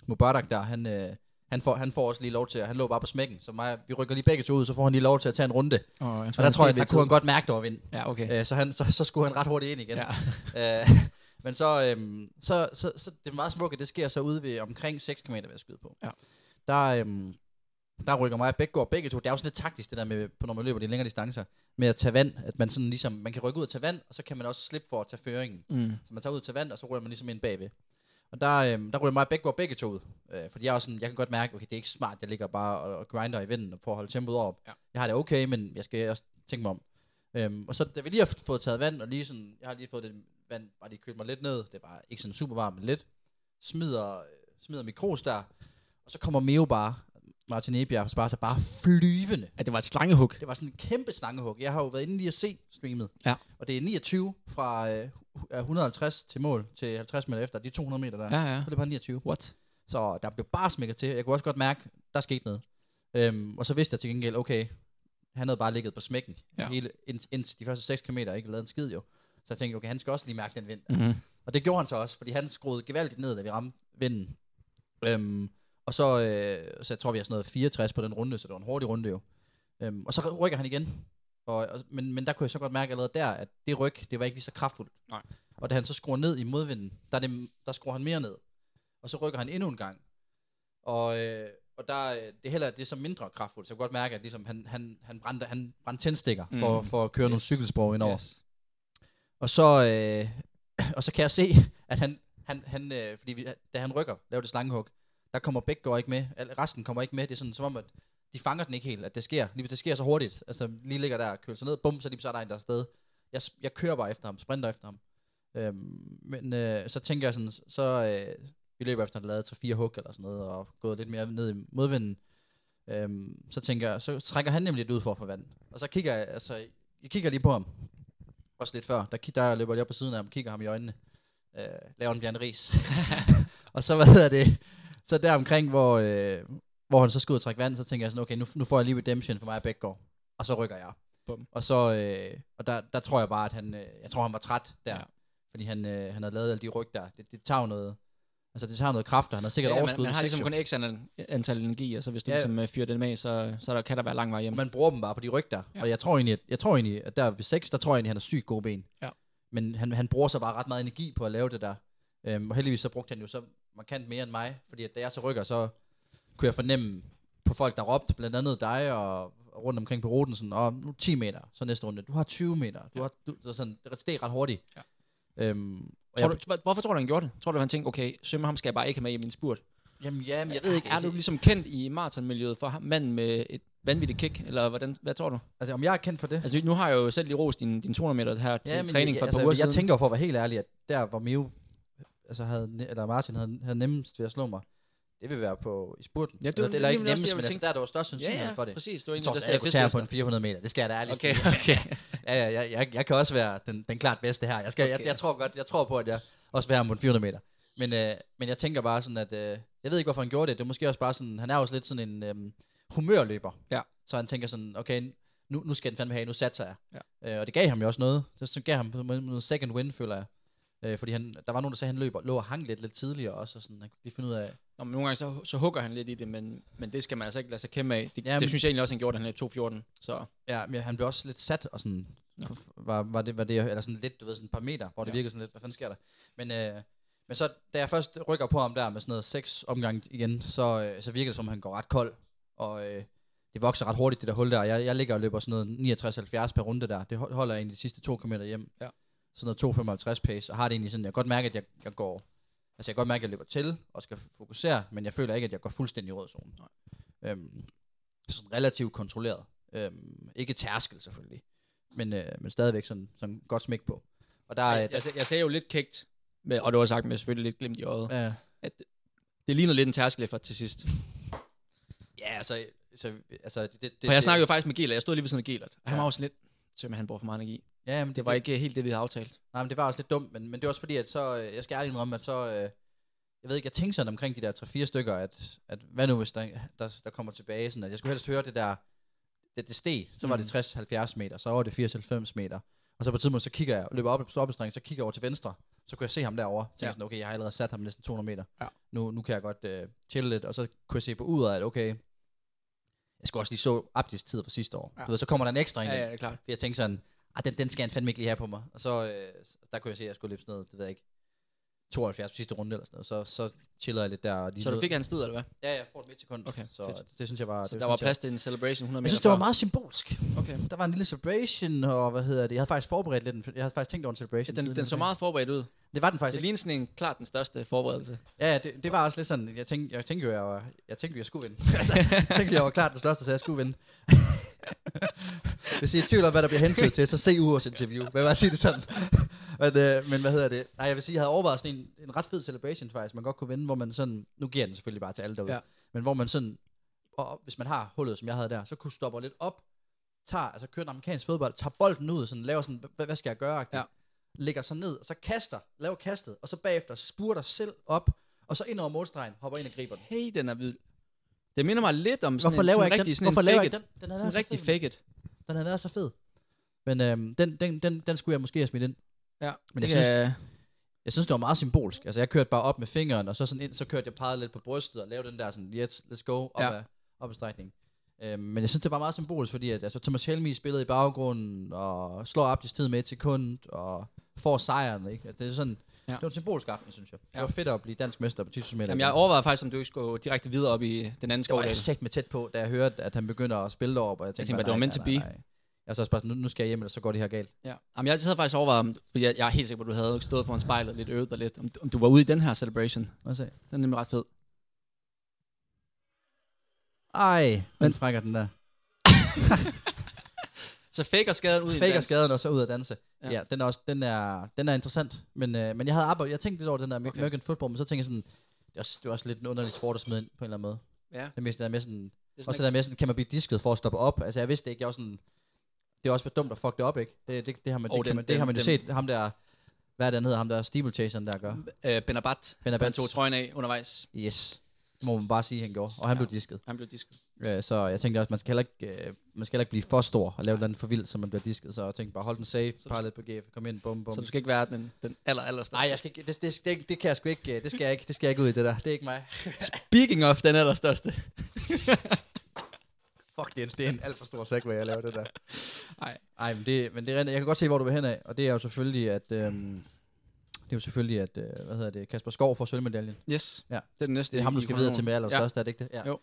D: Mubarak der, han, øh, han, får, han får også lige lov til, at han lå bare på smækken, så mig, vi rykker lige begge to ud, så får han lige lov til at tage en runde.
E: Og, jeg
D: Og der tror jeg, der kunne han godt mærke, der var vind.
E: Ja, okay.
D: Øh, så, han, så, så skulle han ret hurtigt ind igen.
E: Ja.
D: Øh, men så, øhm, så, så, så det er meget smukt, at det sker så ude ved omkring 6 km, vil jeg skyde på.
E: Ja.
D: Der, øhm, der rykker mig og Bækgaard begge to. Det er jo sådan lidt taktisk, det der med, på, når man løber de længere distancer, med at tage vand. At man, sådan ligesom, man kan rykke ud og tage vand, og så kan man også slippe for at tage føringen.
E: Mm.
D: Så man tager ud til vand, og så ruller man ligesom ind bagved. Og der, øhm, der ruller mig og Bækgaard begge to ud. Øh, fordi jeg, er også sådan, jeg kan godt mærke, okay, det er ikke smart, jeg ligger bare og, og grinder i vinden for at holde tempoet op.
E: Ja.
D: Jeg har det okay, men jeg skal også tænke mig om. Øhm, og så da vi lige har f- fået taget vand, og lige sådan, jeg har lige fået det vand, bare lige kølt mig lidt ned, det er bare ikke sådan super varmt, men lidt, smider, øh, smider mikros der, og så kommer Meo bare, Martin Ebjerg, bare, så bare flyvende
E: At det var et slangehug.
D: det var sådan en kæmpe slangehug. Jeg har jo været inde lige at se streamet.
E: Ja.
D: Og det er 29 fra øh, hu- øh, 150 til mål til 50 meter efter. De 200 meter der.
E: Ja, ja.
D: Så det var 29.
E: What?
D: Så der blev bare smækket til. Jeg kunne også godt mærke, der skete noget. Øhm, og så vidste jeg til gengæld, okay, han havde bare ligget på smækken.
E: Ja.
D: Hele, ind, indtil de første 6 km ikke lavet en skid jo. Så jeg tænkte, okay, han skal også lige mærke den vind.
E: Mm-hmm.
D: Og det gjorde han så også, fordi han skruede gevaldigt ned, da vi ramte vinden. Øhm, og så, øh, så jeg tror, vi har sådan noget 64 på den runde, så det var en hurtig runde jo. Øhm, og så rykker han igen. Og, og, men, men der kunne jeg så godt mærke allerede der, at det ryg, det var ikke lige så kraftfuldt.
E: Nej.
D: Og da han så skruer ned i modvinden, der, er det, der skruer han mere ned. Og så rykker han endnu en gang. Og, øh, og der, øh, det er heller det er så mindre kraftfuldt, så jeg kunne godt mærke, at ligesom, han, han, han, brændte, han brændte tændstikker for,
E: Mm.
D: for at køre yes. nogle
E: Yes.
D: cykelspor indover.
E: Yes.
D: Og så, øh, og så kan jeg se, at han, han, han øh, fordi vi, da han rykker, laver det slangehug, der kommer Bækgaard ikke med, al- resten kommer ikke med, det er sådan som om, at de fanger den ikke helt, at det sker, lige, det sker så hurtigt, altså lige ligger der og køler sig ned, bum, så lige så er der en der er afsted. Jeg, s- jeg kører bare efter ham, sprinter efter ham. Øhm, men øh, så tænker jeg sådan, så øh, vi løber efter, at han lavede 3-4 hug eller sådan noget, og gået lidt mere ned i modvinden. Øhm, så tænker jeg, så trækker han nemlig lidt ud for at få vand. Og så kigger jeg, altså, jeg kigger lige på ham, også lidt før, der, ki- der løber jeg op på siden af ham, kigger ham i øjnene, øh, laver en Bjarne Ries. og så, hvad hedder det, så der omkring, hvor, øh, hvor han så skal ud og trække vand, så tænker jeg sådan, okay, nu, nu får jeg lige redemption for mig og Bækgaard, og så rykker jeg.
E: Bum.
D: Og så, øh, og der, der tror jeg bare, at han, øh, jeg tror han var træt der,
E: Ja.
D: ja. fordi han, øh, han havde lavet alle de ryg der, det, det tager jo noget, altså det tager noget kraft, og han har sikkert ja,
E: man,
D: overskud.
E: man har
D: ved
E: ligesom
D: sex, jo.
E: kun x antal, antal energi, og så hvis du
D: Ja.
E: ja. ligesom øh, fyrer den af, så, så der, kan der være lang vej hjem.
D: Man bruger dem bare på de ryg der. Ja.
E: Ja.
D: Og jeg tror egentlig, at, jeg tror egentlig, at der ved 6, der tror jeg egentlig, at han har sygt gode ben.
E: Ja.
D: Men han, han bruger så bare ret meget energi på at lave det der. Øhm, og heldigvis så brugte han jo så markant mere end mig, fordi at da jeg så rykker, så kunne jeg fornemme på folk, der råbte, blandt andet dig og og rundt omkring på ruten, sådan, og nu 10 meter, så næste runde, du har 20 meter, du har, du, så sådan, det steg ret hurtigt.
E: Ja.
D: Øhm, og
E: tror
D: jeg,
E: du, hvor- hvorfor tror du, han gjorde det? Tror du, han tænkte, okay, Sømme ham skal jeg bare ikke have med i min spurt?
D: jamen, jamen, jeg ved ikke, altså-
E: Er du ligesom kendt i maratonmiljøet for ham, manden med et vanvittigt kick, eller hvordan, hvad tror du?
D: altså, om jeg er kendt for det?
E: Altså, nu har jeg jo selv lige rost din, din 200 meter her til
D: men
E: træning
D: jeg-
E: for et par
D: altså,
E: uger
D: jeg
E: siden.
D: tænker jo for at være helt ærlig, at der hvor Mio, altså havde, ne- eller Martin havde, havde nemmest ved at slå mig, det vil være på i spurten.
E: Ja, det var
D: eller, eller
E: nemlig
D: ikke
E: også det,
D: nemmest,
E: jeg
D: men altså,
E: tænkte.
D: der er der jo størst sandsynlighed for det.
E: præcis. Det var
D: Jeg
E: egentlig
D: tror,
E: også
D: også,
E: der,
D: jeg
E: jeg
D: kunne tage
E: fiskede
D: på en 400 meter, det skal jeg da ærligt
E: Okay,
D: sige.
E: okay.
D: Ja, ja, jeg, jeg, jeg kan også være den, den klart bedste her. Jeg, skal, okay. jeg,
E: Okay.
D: jeg, tror godt, jeg tror på, at jeg også vil have ham på en 400 meter. Men, øh, men jeg tænker bare sådan, at... Øh, jeg ved ikke, hvorfor han gjorde det. Det er måske også bare sådan... Han er også lidt sådan en øh, humørløber.
E: Ja.
D: Så han tænker sådan, okay, nu, nu skal den fandme have, nu satser jeg.
E: Ja.
D: Øh, og det gav ham jo også noget. Det så gav ham på en måde noget second win, føler jeg. Øh, fordi han, der var nogen, der sagde, at han løber, lå og hang lidt, lidt tidligere også, og sådan, han kunne lige finde ud af...
E: Nå, men nogle gange så, så hugger han lidt i det, men, men det skal man altså ikke lade sig kæmpe af. Det,
D: Ja,
E: ja, det
D: men-
E: synes jeg egentlig også, han gjorde, da han løb 2.14. Så
D: Ja, men han blev også lidt sat, og sådan, var, var, det, var det, eller sådan lidt, du ved, sådan et par meter, hvor det
E: Ja.
D: virkede sådan lidt, hvad fanden sker der? Men, øh, men så, da jeg først rykker på ham der med sådan noget seks omgang igen, så, øh, så virker det som, om han går ret kold, og øh, det vokser ret hurtigt, det der hul der. Jeg, jeg ligger og løber sådan noget 69-70 per runde der. Det hold- holder jeg egentlig de sidste to km hjem.
E: Ja.
D: Sådan noget 2,55 pace, og har det egentlig sådan, jeg kan godt mærke, at jeg, jeg går, altså jeg kan godt mærke, at jeg løber til, og skal fokusere, men jeg føler ikke, at jeg går fuldstændig i rød zone. Øhm, sådan relativt kontrolleret. Øhm, ikke tærskel selvfølgelig, men, øh, men stadigvæk sådan, sådan godt smæk på. Og der, øh,
E: Ej,
D: er
E: jeg, jeg, jeg sagde jo lidt kægt, med, og det var sagt med selvfølgelig lidt glimt i øjet. Ja.
D: der, øh,
E: Det ligner lidt en tærskeleffort til sidst.
D: ja, altså, så, altså det, det,
E: For jeg
D: det-
E: snakkede jo faktisk med Gelert. Jeg stod lige ved siden af Gelert. Og han
D: Ja.
E: var også lidt... Søm, han bruger for meget energi.
D: ja, men det,
E: Det var ikke øh, helt det, vi havde aftalt.
D: Nej, men det var også lidt dumt, men, men det var også fordi, at så, øh, jeg skal ærligt indrømme, at så, øh, jeg ved ikke, jeg tænkte sådan omkring de der 3-4 stykker, at, at hvad nu hvis der, der, der kommer tilbage, sådan at jeg skulle helst høre det der, det, det steg, så var
E: Mm.
D: det 60-70 meter, så var det 80-90 meter, og så på et tidspunkt, så kigger jeg, løber op, op, op så kigger jeg over til venstre, så kunne jeg se ham derovre, så
E: Ja.
D: ja. sådan, okay, jeg har allerede sat ham næsten 200 meter,
E: Ja.
D: nu, nu kan jeg godt øh, chille lidt, og så kunne jeg se på uret, at okay, jeg skulle også lige så Abdis tid fra sidste år,
E: Ja.
D: ja. du ved, så kommer der en ekstra ind,
E: Ja, ja, det er klart.
D: fordi jeg tænkte sådan, ah, den, den skal han fandme ikke lige have på mig. Og så, øh, s- der kunne jeg se, at jeg skulle løbe sådan noget, det ved jeg ikke, 72 på sidste runde eller sådan noget. Så, så chillede jeg lidt der. Og lige
E: Så du
D: nød-
E: fik hans tid, eller hvad?
D: Ja, jeg får et midt sekund.
E: Okay,
D: så øh,
E: fedt.
D: det, det, synes jeg var...
E: Så
D: det,
E: der
D: synes
E: var
D: jeg-
E: plads til en celebration 100 meter
D: jeg synes, det var
E: før.
D: meget symbolsk.
E: Okay.
D: Der var en lille celebration, og hvad hedder det? Jeg havde faktisk forberedt lidt. En, jeg havde faktisk tænkt over en
E: Ja,
D: celebration.
E: den,
D: siden
E: den så
D: dag.
E: meget forberedt ud.
D: Det var den faktisk
E: Det
D: ikke.
E: ligner sådan en, klart den største forberedelse.
D: Ja, ja, det, det, var også lidt sådan, jeg tænkte, jeg tænkte jo, jeg, var, jeg tænkte, jo, jeg skulle vinde. altså, jeg tænkte, jeg var klart den største, så jeg skulle vinde. Hvis I er i tvivl om, hvad der bliver hentydet til, så se ugens interview. Hvad var sige det sådan? men, øh, men hvad hedder det? Nej, jeg vil sige, jeg havde overvejet sådan en, en ret fed celebration faktisk, man godt kunne vinde, hvor man sådan, nu giver jeg den selvfølgelig bare til alle derude,
E: Ja.
D: ja. men hvor man sådan, og og hvis man har hullet, som jeg havde der, så kunne stoppe lidt op, tager, altså kører den amerikansk fodbold, tager bolden ud, sådan, laver sådan, "Hva- hvad skal jeg gøre?
E: Ja.
D: Ja. Ligger sig ned, og så kaster, laver kastet, og så bagefter spurter selv op, og så ind over målstregen, hopper ind og griber den.
E: Hey, den er vild. Det minder mig lidt om sådan
D: Hvorfor
E: en,
D: laver
E: sådan
D: jeg ikke
E: rigtig,
D: den?
E: sådan en
D: Hvorfor laver jeg
E: fake
D: ikke
E: it.
D: den? Den havde
E: Sådan
D: været
E: en
D: så
E: rigtig
D: fed.
E: fake it.
D: Den havde været så fed. Men øhm, den, den, den, den skulle jeg måske have smidt ind.
E: Ja,
D: Men
E: det
D: jeg synes-
E: kan-
D: Jeg synes, det var meget symbolsk. Altså, jeg kørte bare op med fingeren, og så sådan ind, så kørte jeg peget lidt på brystet og lavede den der sådan, yes, let's go, op,
E: Ja.
D: ja. ad, op ad strækningen. Øhm, men jeg synes, det var meget symbolsk, fordi at, altså, Thomas Helmi spillede i baggrunden, og slår Abdis tid med et sekund, og får sejren, ikke? Altså, det er sådan,
E: Ja.
D: ja. det var en symbolsk aften, synes jeg.
E: Ja.
D: Det var fedt at blive dansk mester på 10 meter.
E: Jamen, jeg overvejede faktisk, om du ikke skulle gå direkte videre op i den anden
D: det var
E: skovdal.
D: jeg sæt med tæt på, da jeg hørte, at han begynder at spille deroppe, og jeg tænkte,
E: tænkte bare, det var
D: nej,
E: meant
D: nej,
E: to
D: nej, nej. Jeg er så også bare sådan, nu, nu skal jeg hjem, eller så går det her galt.
E: Ja. Jamen, jeg havde faktisk overvejet, om, fordi jeg, jeg er helt sikker på, at du havde stået foran spejlet og lidt øvet dig lidt, om, du- om du var ude i den her celebration.
D: Lad os se.
E: Den er nemlig ret fed.
D: Ej, den frækker den der.
E: Så faker skaden ud i en
D: Faker
E: dans.
D: skaden og så ud at danse.
E: Ja.
D: Ja, ja den, er også, den, er, den er interessant. Men, øh, men jeg havde arbejdet, jeg tænkte lidt over den der okay.
E: Okay.
D: American football, men så tænkte jeg sådan, det er, også, det er også lidt en underlig sport at smide ind på en eller anden måde.
E: Ja.
D: Det meste der med sådan,
E: Det er sådan
D: også det der med sådan, kan man blive disket for at stoppe op? Altså jeg vidste det ikke, jeg var sådan, det er også for dumt at fuck det op, ikke? Det, det, det har man,
E: Og
D: det,
E: den-
D: kan man, det har
E: den-
D: man jo
E: den-
D: set, ham der, hvad er det, han hedder, ham der steeplechaseren der gør.
E: øh, Benabat.
D: Benabat.
E: Han tog trøjen af undervejs.
D: Yes. Det må man bare sige, han gjorde. Og han
E: Ja.
D: ja. blev disket.
E: Han blev disket.
D: Øh, så jeg tænkte også, man skal heller ikke, øh, man skal heller ikke blive for stor og lave noget for vildt, så man bliver disket. Så jeg tænkte bare, hold den safe, par lidt på GF, kom ind, bum, bum.
E: Så du skal ikke være den, den aller, aller største.
D: Nej, jeg skal ikke, det, det, det, det, kan jeg sgu ikke, øh, det skal jeg ikke, det skal jeg ikke ud i det der. Det er ikke mig.
E: Speaking of den aller største.
D: Fuck, det er, en- det er en alt for stor segway, jeg laver det der.
E: Ej.
D: Ej, men det, men det er, rent- jeg kan godt se, hvor du vil hen af, og det er jo selvfølgelig, at, øhm, det er jo selvfølgelig, at, øh, hvad hedder det, Kasper Skov får sølvmedaljen.
E: Yes.
D: Ja.
E: Det er den næste.
D: Det er ham, du
E: i
D: skal videre til med
E: kronoen.
D: allerstørste, ja. er det ikke det?
E: Jo.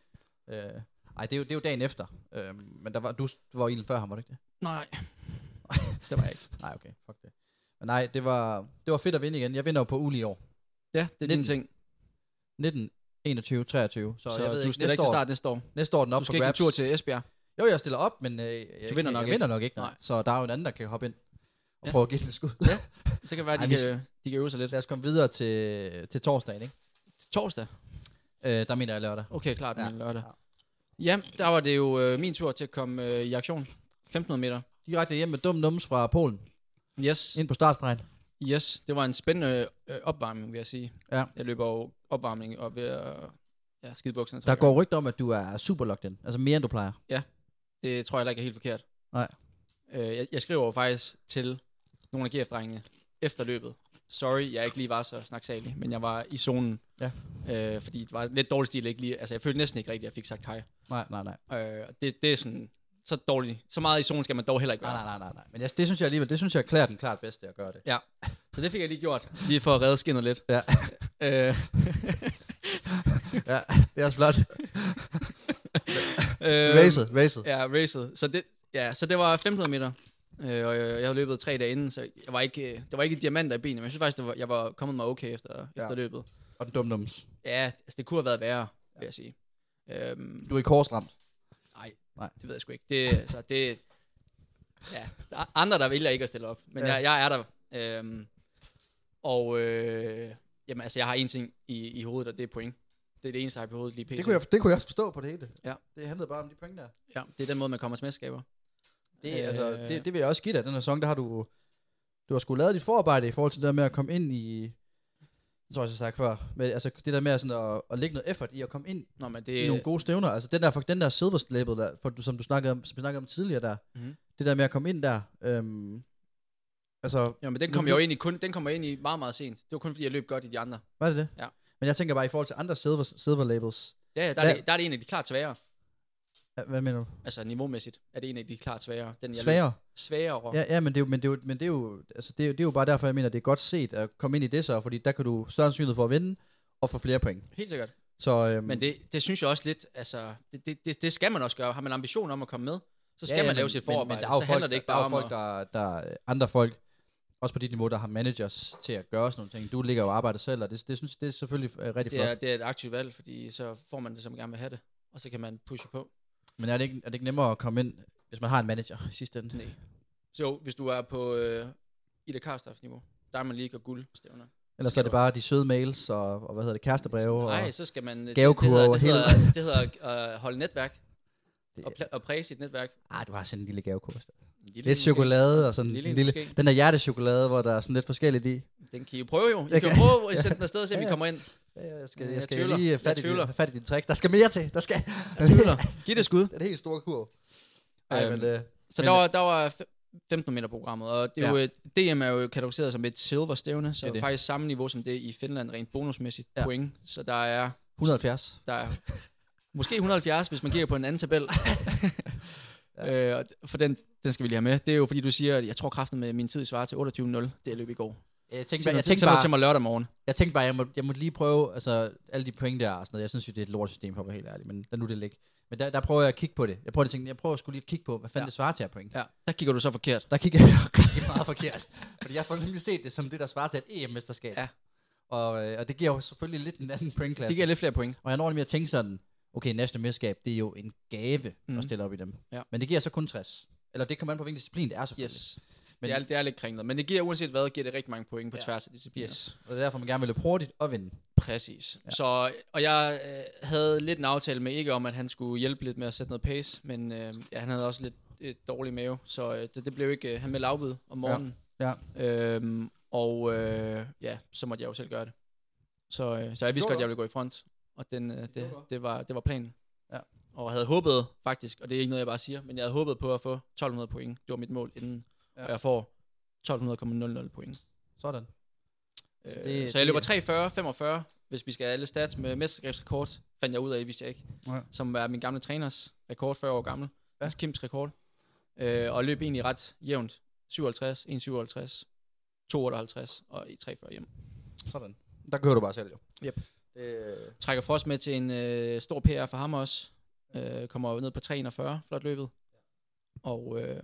D: Øh, ej, det er, jo, det er jo dagen efter, øh, men der var, du, du var jo egentlig før ham, var det ikke det?
E: Ja. Nej. det var jeg ikke.
D: Nej, okay, fuck det. Men nej, det var, det var fedt at vinde igen. Jeg vinder jo på uli i år.
E: Ja, det er din
D: 19.
E: ting.
D: 19, 21, 23. Så,
E: Så,
D: så jeg ved
E: du
D: ikke,
E: stiller
D: næste,
E: ikke til
D: år,
E: start næste år.
D: næste år er den op
E: Du
D: for
E: skal ikke en
D: grabs.
E: tur til Esbjerg.
D: Jo, jeg stiller op, men øh, jeg,
E: vinder
D: jeg,
E: nok
D: jeg
E: ikke.
D: vinder nok ikke. Nej.
E: Nej.
D: Så der er jo en anden, der kan hoppe ind og
E: Ja.
D: ja. prøve at give den et skud.
E: Det kan være,
D: Ej,
E: de,
D: vi-
E: kan, de kan øve sig lidt.
D: Lad os komme videre til, til torsdagen, ikke?
E: Torsdag.
D: Øh, der mener jeg lørdag.
E: Okay, klart,
D: Ja.
E: ja. lørdag. Ja, der var det jo øh, min tur til at komme øh, i aktion. 1500 meter.
D: Direkte hjem med dum nums fra Polen.
E: Yes,
D: Ind på startstregen.
E: yes. Det var en spændende øh, opvarmning, vil jeg sige.
D: Ja.
E: Jeg løber jo opvarmning og ved at ja, skide bukserne. tre
D: Der
E: gange.
D: går rygter om, at du er super locked in. Altså mere, end du plejer.
E: Det tror jeg heller ikke er helt forkert.
D: Nej.
E: Øh, jeg, jeg skriver jo faktisk til nogle af GF-drengene efter løbet. Sorry, jeg ikke lige var så snaksalig, men jeg var i zonen.
D: Ja.
E: Øh, fordi det var lidt dårlig stil, ikke lige. Altså, jeg følte næsten ikke rigtigt, at jeg fik sagt hej.
D: Nej, nej, nej.
E: Øh, og det, det er sådan, så dårligt. Så meget i zonen skal man dog heller ikke være.
D: Nej, nej, nej, nej, nej. Men jeg, det synes jeg alligevel, det synes jeg klæder den klart bedste at gøre det.
E: Ja, så det fik jeg lige gjort. Lige for at redde skinnet lidt.
D: Ja.
E: Øh,
D: ja, det er også flot.
E: øh,
D: Racet, racet.
E: Ja, racet. Så det, ja, så det var 500 meter. Øh, og jeg, jeg havde løbet tre dage inden, så jeg var ikke, øh, der var ikke diamanter i benene, men jeg synes faktisk, det var, jeg var kommet mig okay efter, ja. efter løbet.
D: Og den dum nums.
E: Ja, altså, det kunne have været værre, vil jeg sige. Øhm,
D: Du er i korsramt.
E: nej,
D: Nej.
E: nej, det ved jeg sgu ikke. Det, så det, ja, der er andre, der vælger ikke at stille op, men
D: Ja.
E: ja. jeg, jeg er der. Øhm, og øh, jamen, altså, jeg har en ting i, i hovedet, og det er point. Det er det eneste, jeg har på hovedet lige pt.
D: Det kunne, jeg, det kunne jeg også forstå på det hele.
E: Ja.
D: Det handlede bare om de point der.
E: Ja, det er den måde, man kommer til mesterskaber.
D: Det, øh... altså,
E: Øh.
D: det, det vil jeg også give dig, den her song, der har du, du har skulle lavet dit forarbejde i forhold til det der med at komme ind i, jeg tror også, jeg har sagt før, men altså det der med at sådan at, at lægge noget effort i at komme ind
E: Nå, men
D: øh...
E: det,
D: i nogle gode stævner, altså den der, for- den der silver label, der, for, som du snakkede om, som vi snakkede om tidligere der,
E: Mhm.
D: det der med at komme ind der, øhm, altså,
E: Jo, men den kom jeg jo ind i kun, den kom jeg ind i meget, meget sent. Det var kun fordi, jeg løb godt i de andre.
D: var det det?
E: Ja.
D: Men jeg tænker bare i forhold til andre silver, silver labels,
E: Ja, ja, der,
D: Hvad-
E: er det, der er det en af de klart sværere.
D: Ja, hvad mener du?
E: Altså niveaumæssigt er det en af de klart sværere. Den, jeg
D: Sværere?
E: Løb, sværere. Ja.
D: Ja, ja, men det er jo, men det er jo, men det er jo, altså det er, jo- det er jo bare derfor, jeg mener, det er godt set at komme ind i det så, fordi der kan du større sandsynlighed for at vinde, og få flere point.
E: Helt sikkert.
D: Så, øhm,
E: Men det, det synes jeg også lidt, altså, det, det, det, det skal man også gøre. Har man ambition om at komme med, så skal ja, ja, man lave sit forarbejde.
D: Men, men der er
E: så
D: jo
E: handler
D: folk,
E: det ikke
D: der, er
E: bare
D: jo
E: om
D: folk,
E: at...
D: der, der er andre folk, også på dit niveau, der har managers til at gøre sådan nogle ting. Du ligger jo og arbejder selv, og det, det synes det er selvfølgelig øh, rigtig
E: det,
D: flot.
E: er, det er et aktivt valg, fordi så får man det, som man gerne vil have det. Og så kan man pushe på.
D: Men er det, ikke, er det ikke nemmere at komme ind, hvis man har en manager i sidste ende?
E: Nej. Så jo, hvis du er på øh, Ida Karstaff niveau, Diamond League og guld stævner.
D: Ellers så er det bare de søde mails og, og hvad hedder det, kærestebreve. Og,
E: Nej, så skal man... øh,
D: gavekurve
E: det,
D: over
E: det
D: hele-
E: hedder, det hedder, det hedder øh, holde netværk.
D: Det-
E: Og, pla- og præge sit netværk.
D: ah, du har sådan en lille gavekurs.
E: Lille
D: Lidt
E: måske.
D: chokolade og sådan
E: Lille
D: en
E: en
D: lille...
E: måske.
D: Den der hjertechokolade, hvor der er sådan lidt forskelligt i.
E: Den kan I jo prøve jo. I
D: Jeg
E: kan
D: kan-
E: jo prøve at sende den afsted, så vi kommer ind.
D: Ja, Jeg skal,
E: Ja,
D: jeg
E: jeg
D: skal
E: tvivler.
D: lige øh,
E: Jeg
D: fat i, din,
E: tvivler.
D: have fat i din tricks. Der skal mere til. Der skal...
E: Jeg tvivler. Giv det skud.
D: det er det helt store kurv. Ej,
E: Øhm,
D: men, øh,
E: Så
D: Men-
E: der var, der var fe- 15 meter programmet, og det er
D: Ja.
E: jo, et- DM er jo kategoriseret som et silverstævne, så
D: Det er
E: det
D: det.
E: er faktisk samme niveau som det i Finland, rent bonusmæssigt
D: Ja.
E: ja. point. Så der er,
D: 170.
E: der er måske 170, hvis man kigger på en anden tabel. ja. øh, og d- for den, den skal vi lige have med. Det er jo fordi, du siger, at jeg tror kraften med min tid svarer til 28.0, det jeg løb i går.
D: Jeg
E: Tænk, jeg tænkte bare... til mig lørdag morgen.
D: Jeg tænkte bare, jeg må, jeg må lige prøve, altså alle de point der og sådan noget. Jeg synes jo, det er et lortesystem, for at være helt ærlig, men lad nu det ligge. Men der, der prøver jeg at kigge på det. Jeg prøver, at tænke, jeg prøver sgu lige at kigge på, hvad fanden ja.
E: Ja.
D: det svarer til af point. Ja.
E: Ja, der kigger du så forkert.
D: Der kigger jeg rigtig meget forkert. Fordi jeg får nemlig set det som det, der svarer til et EM-mesterskab.
E: Ja.
D: Og, øh, og det giver jo selvfølgelig lidt en anden pointklasse.
E: Det giver lidt flere point.
D: Og jeg når nemlig at tænke sådan, okay, national mesterskab, det er jo en gave mm.
E: Mhm.
D: at stille op i dem.
E: Ja.
D: Men det giver så kun 60. Eller det kommer an på, hvilken disciplin det er selvfølgelig.
E: Yes.
D: Men-
E: Men, det, er, det er lidt kringlet, men det giver uanset hvad, giver det rigtig mange point på
D: Ja.
E: ja. tværs af discipliner.
D: yes. Og det er derfor, man gerne vil løbe hurtigt og vinde.
E: Præcis. Ja. Så, og jeg øh, havde lidt en aftale med ikke om, at han skulle hjælpe lidt med at sætte noget pace, men øh, ja, han havde også lidt et dårlig mave, så øh, det, det blev ikke, øh, han meldte afbud om morgenen.
D: Ja.
E: Øhm, og øh, ja, så måtte jeg jo selv gøre det. Så, øh, så jeg vidste
D: Gjorde
E: godt, at jeg ville gå i front, og den, øh, det,
D: Gjorde du?
E: det, var, det var planen.
D: Ja.
E: Og jeg havde håbet faktisk, og det er ikke noget, jeg bare siger, men jeg havde håbet på at få 1200 point. Det var mit mål inden,
D: Ja.
E: ja. og jeg får 1200,00 point.
D: Sådan.
E: Øh,
D: det-
E: det, så jeg løber
D: det-
E: 340, 45, hvis vi skal have alle stats med mesterskabsrekord, fandt jeg ud af, vidste jeg ikke,
D: Ja.
E: som er min gamle træners rekord, 40 år gammel,
D: Ja.
E: ja. Kims rekord, øh, og løb egentlig ret jævnt, 57, 157, 258 og i 340 hjem.
D: Sådan. Der kører du bare selv, jo.
E: Yep.
D: Øh,
E: Trækker Frost med til en øh, stor PR for ham også, øh, kommer ned på 341, flot løbet, og øh,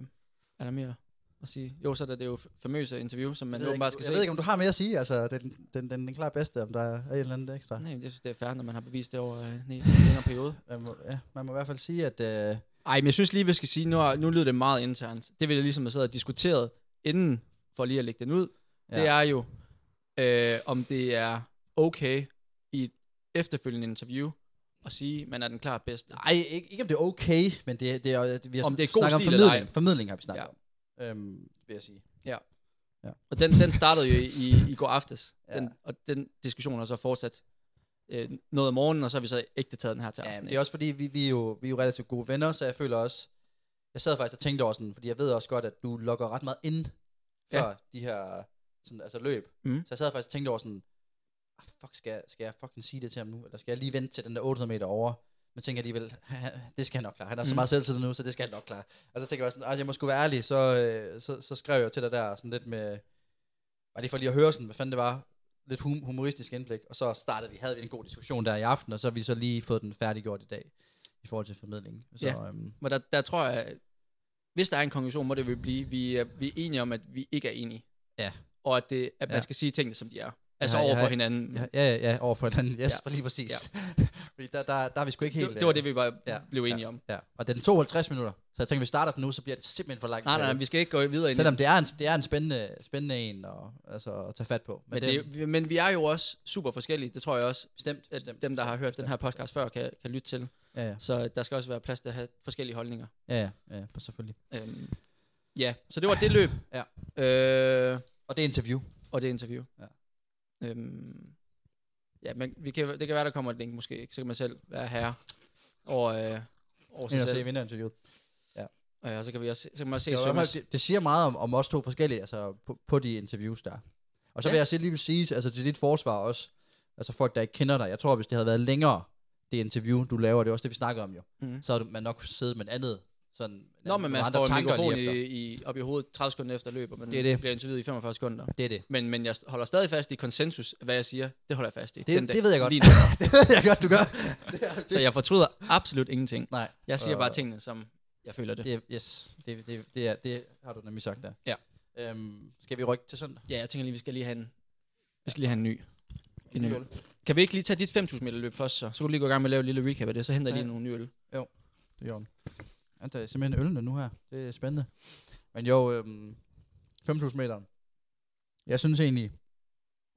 E: er der mere at sige? Jo, så er der det jo famøse interview, som man
D: jeg, ved
E: åbenbart
D: ikke,
E: skal
D: jeg
E: se.
D: ved ikke, om du har mere at sige. Altså, det er den, den, den, den klart bedste, om der er et eller andet ekstra.
E: Nej, men jeg synes, det er fair, når man har bevist det over øh, en en længere periode.
D: Man må, ja, man må i hvert fald sige, at... Øh,
E: Ej, men jeg synes lige, vi skal sige, nu, har- nu lyder det meget internt. Det vil jeg ligesom have siddet og diskuteret inden, for lige at lægge den ud.
D: Ja.
E: Ja. Det er jo, øh, om det er okay i et efterfølgende interview og sige, man er den klart bedste.
D: Nej, ikke, ikke om det er okay, men det, det er, vi har
E: Om det er god
D: snakket om
E: stil eller
D: formidling.
E: ej.
D: Formidling har vi snakket
E: Ja.
D: om, øhm, vil jeg sige.
E: Og den, den startede jo i, i, i går aftes.
D: Ja.
E: Den, og den diskussion har så fortsat øh, noget om morgenen, og så har vi så ægte taget den her til
D: Ja,
E: aften.
D: men det er også fordi, vi, vi, er jo, vi er jo relativt gode venner, så jeg føler også, jeg sad faktisk og tænkte over sådan, fordi jeg ved også godt, at du lokker ret meget ind for
E: Ja.
D: de her sådan, altså løb.
E: Mm.
D: Så jeg sad faktisk og tænkte over sådan, ah, fuck, skal jeg, skal jeg fucking sige det til ham nu, eller skal jeg lige vente til den der 800 meter over? Men tænker jeg alligevel, det skal han nok klare. Han har så
E: Mm.
D: meget selvtillid nu, så det skal han nok klare. Og så tænker jeg bare sådan, "Ah, jeg må sgu være ærlig, så, øh, så, så skrev jeg til dig der sådan lidt med, var det for lige at høre sådan, hvad fanden det var, lidt hum- humoristisk indblik, og så startede vi, havde vi en god diskussion der i aften, og så har vi så lige fået den færdiggjort i dag, i forhold til formidling. Så,
E: Ja.
D: øhm,
E: Men der, der tror jeg, hvis der er en konklusion, må det vil blive, vi er, vi er enige om, at vi ikke er enige.
D: Ja.
E: Og at, det, at man
D: Ja.
E: skal sige tingene, som de er. Altså
D: har- jeg
E: over for
D: har-
E: hinanden.
D: ja, ja, ja, over for hinanden, yes,
E: Ja.
D: ja. lige præcis.
E: Ja.
D: Ja. Fordi der, der, der er vi sgu ikke helt...
E: det, det var det,
D: øh,
E: vi var, ja. blev enige
D: ja,
E: om.
D: Ja, og den tog 50 minutter, så jeg tænker, vi starter den nu, så bliver det simpelthen for langt.
E: Nej, nej, nej, vi skal ikke gå videre ind. i-
D: Selvom det er en, det er en spændende, spændende en at, altså, at tage fat på.
E: men, det, er- men vi er jo også super forskellige. Det tror jeg også,
D: bestemt,
E: at
D: bestemt.
E: dem, der har hørt den her podcast før, kan, kan lytte til.
D: Ja, ja,
E: Så der skal også være plads til at have forskellige holdninger.
D: ja, ja, ja selvfølgelig.
E: Øhm, ja, så det var det løb.
D: Ja.
E: Øh,
D: Og det er interview.
E: og det interview.
D: Ja.
E: Øhm, ja, men vi kan, det kan være, der kommer et link måske. Ikke? Så kan man selv være herre over, øh, over sig
D: Ind og se
E: selv.
D: vinderinterviewet.
E: Og ja, så kan, vi også, så kan man også se
D: Det, er i hvert
E: Sømmers.
D: fald, det, det siger meget om, om os to forskellige, altså på, på de interviews der. Og så ja. vil
E: Ja.
D: jeg selv lige sige, altså til dit forsvar også, altså folk, der ikke kender dig, jeg tror, hvis det havde været længere, det interview, du laver, det er også det, vi snakker om jo,
E: Mhm.
D: mm. så havde man nok siddet med et andet, sådan,
E: Nå, men man
D: nogle
E: får en
D: tanker lige
E: mikrofon
D: efter.
E: i, i, op i hovedet 30 sekunder efter løb, og man
D: Det er det.
E: bliver interviewet i 45 sekunder.
D: Det er det.
E: Men, men jeg holder stadig fast i konsensus, hvad jeg siger. Det holder jeg fast i.
D: Det-
E: Den dag.
D: det ved jeg godt.
E: Lige nu.
D: det ved jeg godt, du gør. Det er, det,
E: Så jeg fortryder absolut ingenting.
D: nej.
E: Jeg siger
D: Øh,
E: bare tingene, som jeg føler det.
D: Det, er- yes, det, det, det, er, det har du nemlig sagt der.
E: Ja.
D: Øhm, skal vi rykke til søndag?
E: Ja, jeg tænker lige, vi skal lige have en, vi skal lige have en ny. En ny
D: Ny
E: øl.
D: øl.
E: Kan vi ikke lige tage dit 5.000 meter løb først, så? Så kan du lige gå i gang med at lave et lille recap af det, så henter jeg lige
D: Ja.
E: nogle nye øl.
D: Det gjorde den. Ja, der er øh, simpelthen ølende nu her. Det er spændende. Men jo, øhm, 5.000 meter. Jeg synes egentlig,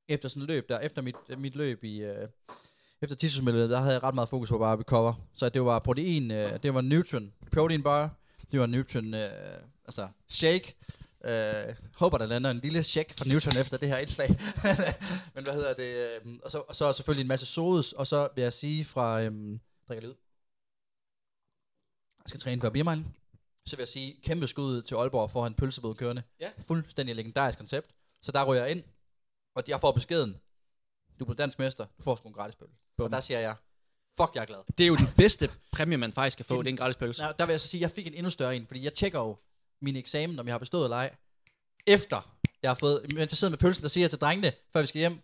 D: efter sådan et løb der, efter mit, mit løb i, øh, efter 10.000 meter, der havde jeg ret meget fokus på bare at recover. Så det var protein, øh, det var Nutrin protein bar, det var Nutrin, øh, altså shake. Øh, håber, der lander en lille check fra Newton efter det her indslag. Men hvad hedder det? øhm, Og så, og så selvfølgelig en masse sodes, og så vil jeg sige fra... Øhm, drikker lyd skal træne før Birmejlen, så vil jeg sige kæmpe skud til Aalborg for at have en pølsebod kørende.
E: Ja.
D: Fuldstændig legendarisk koncept. Så der ryger jeg ind, og jeg får beskeden, du blev dansk mester, du får sgu en gratis pølse. Og der siger jeg, fuck, jeg er glad.
E: Det er jo den bedste præmie, man faktisk kan få, det er en gratis pølse.
D: Nej, der vil jeg så sige, at jeg fik en endnu større en, fordi jeg tjekker jo min eksamen, om jeg har bestået eller ej, efter jeg har fået, mens jeg sidder med pølsen, der siger jeg til drengene, før vi skal hjem,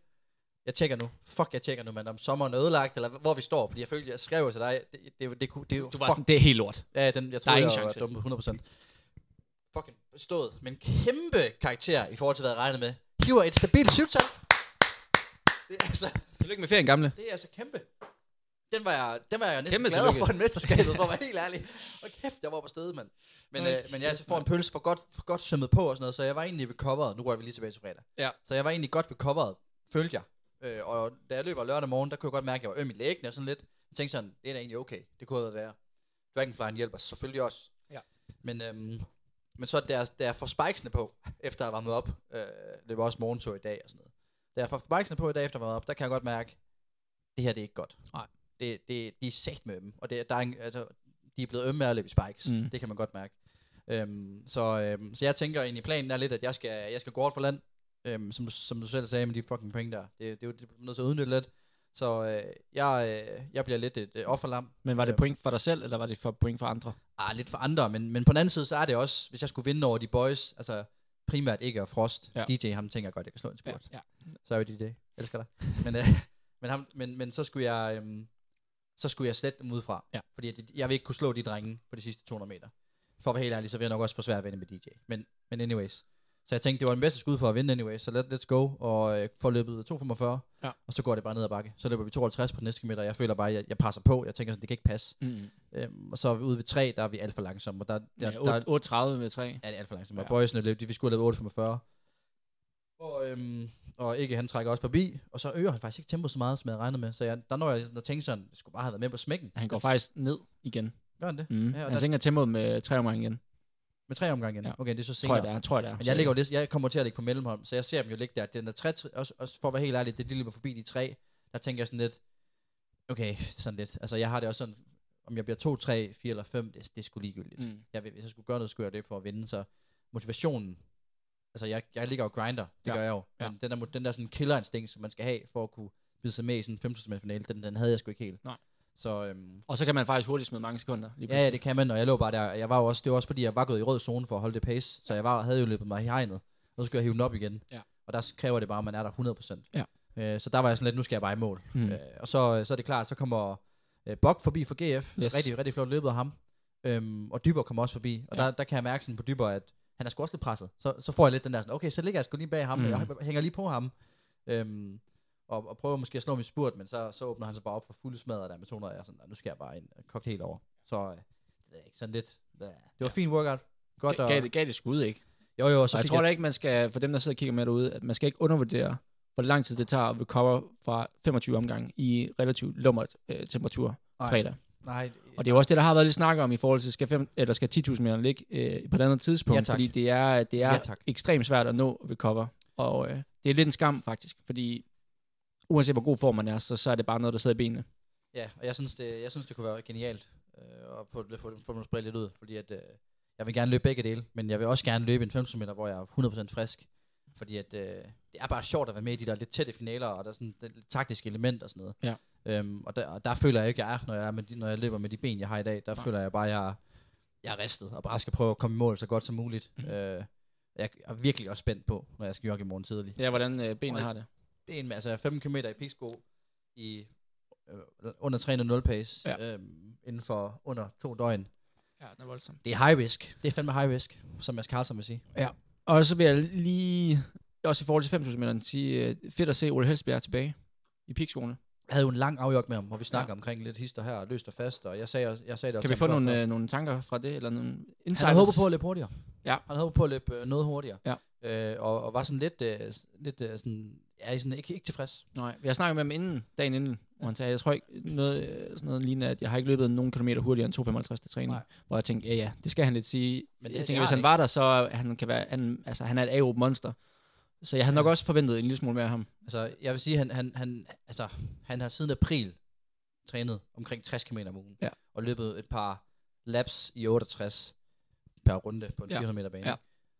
D: jeg tjekker nu, fuck, jeg tjekker nu, mand, om sommeren er ødelagt, eller hvor vi står, fordi jeg følte, jeg skrev jo til dig, det, det, det, det, kunne- det,
E: Du var
D: fuck,
E: sådan, det er helt lort.
D: Ja, den, jeg
E: Der er
D: tror, jeg
E: ingen
D: var
E: chance.
D: dumme 100%. Fucking bestået med en kæmpe karakter i forhold til, hvad jeg regnede med. Hiver et stabilt syvtal. Det er altså,
E: Tillykke med ferien, gamle.
D: det er altså kæmpe. Den var jeg, den var jeg næsten
E: Kæmpe
D: kæmpe gladere
E: tillykke.
D: for end mesterskabet, for at være helt ærlig. Og kæft, jeg var på stedet, mand. Men,
E: Hold
D: øh, men jeg altså får en pølse for godt, for godt sømmet på og sådan noget, så jeg var egentlig recoveret. Nu rører vi lige tilbage til fredag.
E: Ja.
D: Så jeg var egentlig godt recoveret, følte jeg. Øh, og da jeg løber lørdag morgen, der kunne jeg godt mærke, at jeg var øm i lægen og sådan lidt. Jeg tænkte sådan, det er da egentlig okay. Det kunne have været værre. Dragonflyen hjælper selvfølgelig også.
E: Ja.
D: Men, øhm, men så da jeg, da jeg får spikesene på, efter jeg var med op, øh, løber også morgentur i dag og sådan noget. Da jeg får spikesene på i dag, efter jeg var op, der kan jeg godt mærke, det her det er ikke godt.
E: Nej.
D: Det, det, de er sat med dem, og det, der er en, altså, de er blevet ømme af at løbe i spikes.
E: Mm.
D: Mm. Det kan man godt mærke. Øhm, så, øhm, så jeg tænker egentlig, planen er lidt, at jeg skal, jeg skal gå hårdt for land, øhm, som, du- som du selv sagde med de fucking point der. Det, det, er jo- det er nødt til at udnytte lidt. Så øh, jeg, øh, jeg bliver lidt et øh, offerlam.
E: Men var det
D: Ja.
E: point for dig selv, eller var det for point for andre?
D: Ah, lidt for andre, men, men på den anden side, så er det også, hvis jeg skulle vinde over de boys, altså primært ikke og Frost,
E: Ja.
D: ja. DJ, ham tænker jeg godt, jeg kan slå en spurt.
E: ja.
D: Sorry DJ, elsker dig. Men, øh, men, ham, men, men så skulle jeg øhm, så skulle jeg slette dem udefra.
E: Ja.
D: Fordi jeg, jeg vil ikke kunne slå de drenge på de sidste 200 meter. For at være helt ærlig, så vil jeg nok også få svært at vinde med DJ. Men, men anyways. Så jeg tænkte, det var den bedste skud for at vinde anyways. Så let, let's go. Og øh, får løbet 2.45.
E: Ja.
D: Og så går det bare ned ad bakke. Så løber vi 52 på den næste meter. Jeg føler bare, jeg, jeg presser på. Jeg tænker sådan, det kan ikke passe.
E: Mm.
D: Øhm, og så er vi ude ved 3, der er vi alt for langsomme. Og der, der,
E: Ja,
D: der,
E: 8.30 med 3.
D: Ja, det er alt for langsomt.
E: Ja.
D: Ja. Boysene løb, de, vi skulle have løbet 8,45. Og og, øhm, og ikke han trækker også forbi, og så øger han faktisk ikke tempoet så meget, som jeg havde regnet med. Så jeg, der når jeg sådan at tænke sådan, jeg skulle bare have været med på smækken.
E: Han går faktisk ned igen.
D: Gør han det?
E: Mm.
D: Ja,
E: Ja,
D: og
E: han
D: der-
E: sænker tempoet med tre omgange igen.
D: Med tre omgange igen?
E: Ja.
D: Ja. Okay, det er så senere.
E: Tror jeg, det er. Tror jeg, det er.
D: Men jeg, ligger jo lidt, jeg kommer til at ligge på mellemhold, så jeg ser dem jo ligge der. Den der tre, også, også for at være helt ærlig, det de løber forbi de tre, der tænker jeg sådan lidt, okay, sådan lidt. Altså jeg har det også sådan, om jeg bliver to, tre, fire eller fem, det, det er sgu ligegyldigt. Mm.
E: Mm.
D: Jeg, vil- hvis jeg skulle gøre noget, skulle jeg gøre det for at vinde, så motivationen, altså jeg, jeg ligger og grinder, det
E: Ja.
D: ja. gør jeg jo.
E: Ja.
D: Men den der, mo- den der sådan killerinstinkt, som man skal have for at kunne bide sig med i sådan en 15 finale, den, den havde jeg sgu ikke helt.
E: Nej.
D: Så øhm,
E: Og så kan man faktisk hurtigt smide mange sekunder. Lige
D: Ja, ja, det kan man, og jeg lå bare der. Jeg var jo også, det var også fordi, jeg var gået i rød zone for at holde det pace, så jeg var, havde jo løbet mig i hegnet, og så skulle jeg hive den op igen.
E: Ja.
D: Og der kræver det bare, at man er der 100%.
E: Ja.
D: Øh, så der var jeg sådan lidt, nu skal jeg bare i mål.
E: Mm.
D: Øh, og så, så er det klart, så kommer øh, Bok forbi for GF,
E: Yes.
D: yes. rigtig, rigtig flot løbet af ham, øhm, og Dyber kommer også forbi, og
E: Ja.
D: ja. der, der kan jeg mærke sådan på Dyber, at han er sgu også lidt presset. Så, så får jeg lidt den der sådan, okay, så ligger jeg sgu lige bag ham,
E: Mm.
D: mm. jeg hænger lige på ham, øhm, og, og prøver måske at slå min spurt, men så, så åbner han sig bare op for fulde smadret der med 200, og jeg er sådan, "Nå, nu skal jeg bare ind og kogt helt over. Så øh, det ved jeg ikke, sådan lidt, blæh. det var ja. fint workout. Godt,
E: Gav,
D: og,
E: gav, det, gav det skud, ikke?
D: jo jo, og
E: Så
D: så
E: jeg
D: fik
E: tror da ikke, man skal, for dem, der sidder og kigger med derude, at man skal ikke undervurdere, hvor lang tid det tager at recover fra 25 omgang i relativt lummert øh, temperatur
D: Nej.
E: fredag.
D: nej,
E: Og det er jo også det, der har været lidt snak om i forhold til, skal, fem, eller skal 10.000 meter ligge øh, på et andet
D: Ja,
E: tidspunkt,
D: tak.
E: fordi det er, det er
D: Ja,
E: ja,
D: tak.
E: ekstremt svært at nå recover. Og øh, det er lidt en skam faktisk, fordi uanset hvor god form man er, så, så er det bare noget, der sidder i benene.
D: Ja, og jeg synes, det, jeg synes, det kunne være genialt øh, at få, få, få dem spredt lidt ud, fordi at, øh, jeg vil gerne løbe begge dele, men jeg vil også gerne løbe en 15 meter, hvor jeg er 100% frisk, fordi at, øh, det er bare sjovt at være med i de der lidt tætte finaler, og der er sådan et lidt taktisk element og sådan noget.
E: Ja.
D: Øhm, og, der, og der føler jeg ikke, jeg er, når jeg, er med de, når jeg løber med de ben, jeg har i dag, der
E: Nej.
D: Nej. føler jeg bare, jeg er, jeg er ristet, og bare skal prøve at komme i mål så godt som muligt.
E: Mhm.
D: Mm. Øh, jeg er virkelig også spændt på, når jeg skal jogge i morgen tidlig
E: Ja, hvordan øh, benene
D: Og-
E: har det.
D: det er en masse 15 km i piksko i øh, under 3.0 pace
E: Ja.
D: ja. øhm, inden for under to døgn.
E: Ja, det er voldsomt.
D: Det er high risk. Det er fandme high risk, som Mads Carlsen vil sige.
E: Og så vil jeg lige, også i forhold til 5.000 meter, sige, øh, fedt at se Ole Helsbjerg tilbage i pikskoene.
D: Jeg havde jo en lang afjok med ham, hvor vi snakker
E: Ja.
D: ja. omkring lidt hister her, og løst og fast, og jeg sagde, også- jeg sagde det også
E: Kan vi
D: til
E: få
D: ham
E: nogle,
D: først.
E: øh, nogle tanker fra det, eller nogle insights?
D: Han havde håbet på at løbe hurtigere.
E: Ja.
D: Han havde håbet på at løbe øh, noget hurtigere.
E: Ja.
D: Øh, og, og, var sådan lidt, øh, lidt øh, sådan, ja, I sådan, ikke, ikke tilfreds.
E: Nej, jeg snakkede med ham inden, dagen inden, hvor han sagde, jeg tror ikke noget, øh, sådan noget lignende, at jeg har ikke løbet nogen kilometer hurtigere end 2,55 til træning. Nej.
D: Nej.
E: Hvor jeg tænkte, ja ja, det skal han lidt sige. Men
D: Men
E: det,
D: det-
E: jeg
D: det
E: tænker,
D: har
E: hvis han
D: han
E: var der, så er han kan være, han, altså han er et aerob monster. Så jeg havde nok også forventet en lille smule mere af ham.
D: Altså, jeg vil sige, han, han, han, altså, han har siden april trænet omkring 60 km om ugen.
E: Ja.
D: Og løbet et par laps i 68 per runde på en
E: Ja.
D: 400 meter bane.
E: Ja.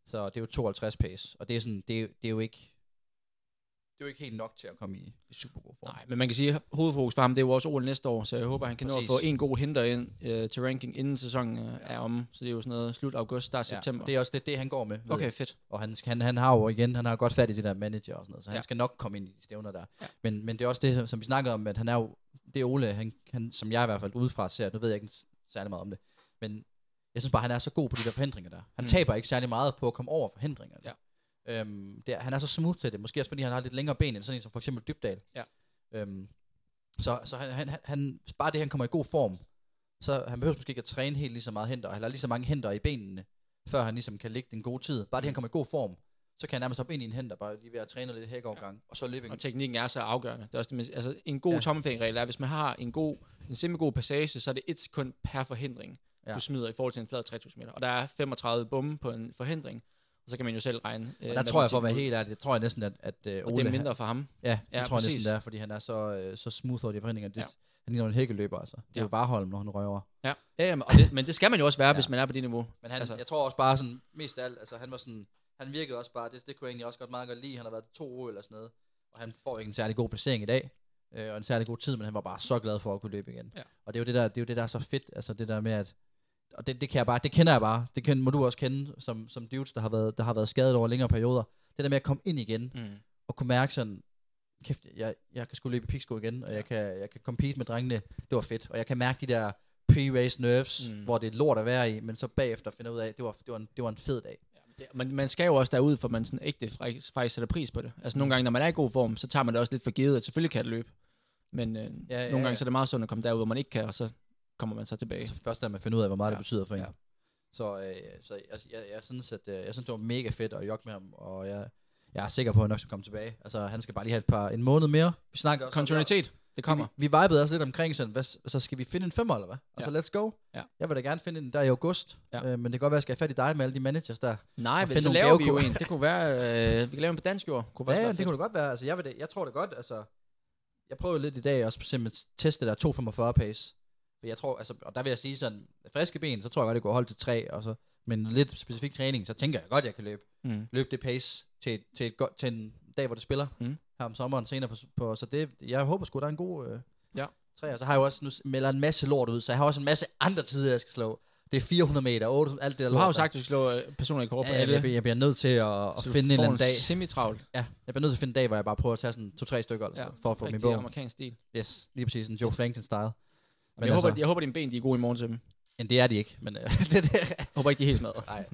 D: Så det er jo 52 pace. Og det er, sådan, det, er, jo- det er jo ikke... Det er jo ikke helt nok til at komme i, i super god form.
E: Nej, men man kan sige, at hovedfokus for ham, det er jo også OL næste år, så jeg håber, han kan nå at
D: Præcis.
E: få en god hinder ind øh, til ranking, inden sæsonen øh, er omme. Så det er jo sådan noget slut august, start september.
D: Ja, det er også lidt det, han går med. ved
E: okay,
D: jeg.
E: fedt.
D: Og han, skal- han, han har jo igen, han har godt fat i det der manager og sådan noget, så han
E: Ja.
D: skal nok komme ind i de stævner der.
E: Ja.
D: Men, men det er også det, som- som vi snakkede om, at han er jo, det er Ole, han, han, som jeg i hvert fald udefra ser, nu ved jeg ikke s- særlig meget om det, men jeg synes bare, han er så god på de der forhindringer der. Han
E: Mm.
D: mm. taber ikke særlig meget på at komme over forhindringerne.
E: Ja.
D: Øhm, det, er- han er så smooth til det, måske også fordi han har lidt længere ben end sådan en som for eksempel Dybdal.
E: Ja.
D: Øhm, så så han, han, han, han, bare det, han kommer i god form, så han behøver måske ikke at træne helt lige så meget hænder, eller lige så mange hænder i benene, før han ligesom kan lægge den gode tid. Bare det,
E: Mm.
D: han kommer i god form, så kan han nærmest hoppe ind i en hænder, bare lige ved at træne lidt hækovergang, ja. og så løbe en
E: Og teknikken er så afgørende. Det er også det, med- altså, en god ja.
D: Ja.
E: tommelfingerregel er, at hvis man har en god, en semi-god passage, så er det et sekund per forhindring, ja.
D: Ja.
E: du smider i forhold til en flad 3000 meter. Og der er 35 bomme på en forhindring, og så kan man jo selv regne. Øh,
D: Og der tror jeg, for at være
E: matematikken
D: helt ærlig, det tror jeg næsten, at, at
E: ud.
D: øh, Ole...
E: Og det er
D: han-
E: mindre for ham.
D: Ja, det
E: Ja,
D: ja, tror jeg
E: præcis.
D: næsten, det er, fordi han er så, øh, så smooth over de forhindringer. Det,
E: Ja.
D: ja. Han ligner en hækkeløber, altså. Det er
E: Ja.
D: ja. jo Varholm, når han røver.
E: Ja, ja jamen, og det, men det skal man jo også være, ja.
D: Ja.
E: hvis man er på det niveau.
D: Men han,
E: Altså-
D: altså. jeg tror også bare sådan, mest af alt, altså han var sådan, han virkede også bare, det, det kunne jeg egentlig også godt meget godt lide. Han har været til to år eller sådan noget, og han får ikke en særlig god placering i dag, øh, og en særlig god tid, men han var bare så glad for at kunne løbe igen.
E: Ja.
D: Og det er jo det der, det er jo det der er så fedt, altså det der med at, og det, det kan jeg bare, det kender jeg bare, det kan, må du også kende som, som dudes, der har, været, der har været skadet over længere perioder. Det der med at komme ind igen,
E: Mm.
D: og kunne mærke sådan, kæft, jeg, jeg kan skulle løbe i piksko igen, og jeg kan, jeg kan compete med drengene, det var fedt. Og jeg kan mærke de der pre-race nerves,
E: Mm.
D: mm. hvor det er lort at være i, men så bagefter finder ud af, at det var, det var, en, det var en fed dag.
E: Det, man, man skal jo også derud, for man sådan ægte faktisk faktisk sætter pris på det. Altså
D: Mm.
E: nogle gange, når man er i god form, så tager man det også lidt for givet, at selvfølgelig kan det løbe. Men øh, ja, nogle
D: ja,
E: gange
D: ja.
E: så er det meget sundt at komme derud, hvor man ikke kan, og så kommer man så tilbage.
D: Så først da Altså, man finder ud af, hvor meget
E: Ja.
D: ja. det betyder for en.
E: Ja.
D: Så, øh, så jeg, jeg, jeg, synes, at, øh, jeg synes, det var mega fedt at jogge med ham, og jeg, jeg er sikker på, at han nok skal komme tilbage. Altså, han skal bare lige have et par, en måned mere. Vi snakker også om-
E: Kontinuitet, det kommer.
D: Vi, vi vibede også lidt omkring sådan, hvad, s- så skal vi finde en femmer, eller hvad? Altså, let's go.
E: Ja.
D: Jeg vil da gerne finde en der i august,
E: Ja.
D: ja. øh, men det kan godt være, at jeg skal have fat i dig med alle de managers der.
E: Nej,
D: Og
E: men
D: finde
E: så
D: nogle
E: laver vi jo
D: gavekurve.
E: en. Det kunne være, øh, vi kan lave en på dansk jord. Kunne
D: Ja,
E: være
D: ja, det kunne det godt være. Altså, jeg, vil det, jeg tror det godt. Altså, jeg prøvede lidt i dag også simpelthen at teste det der 2,45 pace. Men jeg tror, altså, og der vil jeg sige sådan, friske ben, så tror jeg godt, det går holde til 3, og så, men lidt specifik træning, så tænker jeg godt, jeg kan løbe,
E: Mm.
D: løbe det pace til, til, et godt, til en dag, hvor det spiller.
E: Mm.
D: Her om sommeren senere på, på så det, jeg håber sgu, der er en god øh,
E: Ja.
D: træer. Så har jeg jo også, nu melder en masse lort ud, så jeg har også en masse andre tider, jeg skal slå. Det er 400 meter, 800, alt det der
E: Du
D: lort.
E: har jo
D: der.
E: sagt, at du skal slå øh, personer i kår på
D: ja, jeg,
E: alle.
D: bliver- jeg, bliver nødt til at, at
E: så du
D: finde en eller
E: får
D: anden dag.
E: Semi-travlt.
D: Ja, jeg bliver nødt til at finde en dag, hvor jeg bare prøver at tage sådan to-tre stykker eller sådan, ja, for at få min
E: rigtig
D: bog.
E: amerikansk stil. Men,
D: Yes, lige præcis, en Joe Franklin-style. Men
E: jeg,
D: altså,
E: håber, jeg håber, dine ben de er gode i morgen til dem.
D: men det er de ikke, men øh, det, det,
E: Jeg håber ikke, de er helt smadret.
D: nej,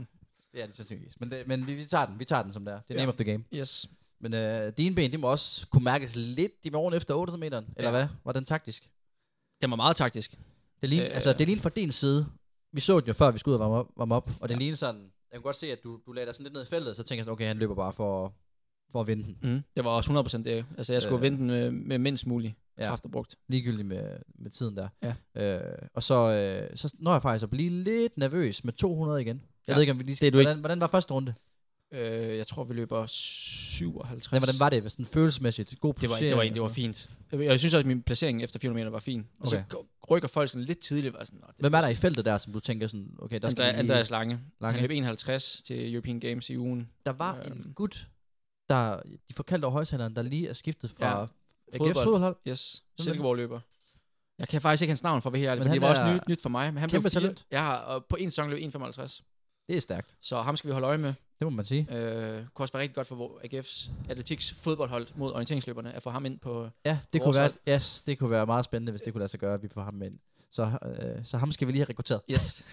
D: det er de sandsynligvis. Men, det, men vi, vi, tager den, vi tager den som det er. Det
E: Ja.
D: er ja. name of the game.
E: Yes.
D: Men øh, dine ben, de må også kunne mærkes lidt i morgen efter 800 meter,
E: Ja.
D: eller hvad? Var den taktisk?
E: Den var meget taktisk.
D: Det lignede,
E: Øh.
D: øh, altså, det lignede fra din side. Vi så den jo før, vi skulle ud og varme op, varme op og det ja. lignede sådan, jeg kunne godt se, at du, du lagde dig sådan lidt ned i feltet, og så tænkte jeg sådan, okay, han løber bare for, for at vinde den.
E: Mm. Det var også 100% det. Altså, jeg skulle øh. vente
D: Øh.
E: den med, med mindst muligt ja.
D: Ja.
E: kræfter brugt.
D: ligegyldigt med, med tiden der.
E: Ja.
D: Øh, og så, øh, så når jeg faktisk at blive lidt nervøs med 200 igen. Jeg
E: Ja,
D: ved ikke, om vi lige
E: det er
D: skal...
E: du
D: Hvordan, hvordan var første runde?
E: Øh, jeg tror, vi løber 57.
D: Hvordan, hvordan var det sådan følelsesmæssigt? God
E: Det var,
D: placering
E: det var,
D: og
E: det var
D: sådan
E: fint. Jeg, jeg synes også, at min placering efter 400 meter var fin. Og okay.
D: Okay.
E: så g- rykker folk sådan lidt tidligt. Var sådan, "Nå, det
D: noget? Hvem er der i feltet der, som du tænker sådan, okay, der
E: Der
D: skal
E: Andrea,
D: vi lige...
E: Andreas Lange. Lange.
D: Lange.
E: Han løb 51 til European Games i ugen.
D: Der var en
E: Øhm.
D: gut, der, de forkaldte over højtaleren, der lige er skiftet fra
E: Ja.
D: ja.
E: Fodbold.
D: AGF's fodboldhold.
E: Yes.
D: Hvem er
E: Silkeborg løber. Jeg kan faktisk ikke hans navn for, at være helt ærlig,
D: Men
E: for det
D: han
E: var også
D: er
E: nyt, nyt for mig. Men han
D: kæmpe
E: blev fire-
D: talent.
E: Ja, og på en sæson løb 1,55.
D: Det er stærkt,
E: Så ham skal vi holde øje med.
D: det må man sige.
E: Øh, kunne også være rigtig godt for vor- AGF's atletiks fodboldhold mod orienteringsløberne, at få ham ind på...
D: Ja, det
E: Vores
D: kunne, være,
E: hold.
D: yes, det kunne være meget spændende, hvis det kunne lade sig gøre, at vi får ham ind. Så, øh, så ham skal vi lige have rekrutteret.
E: Yes.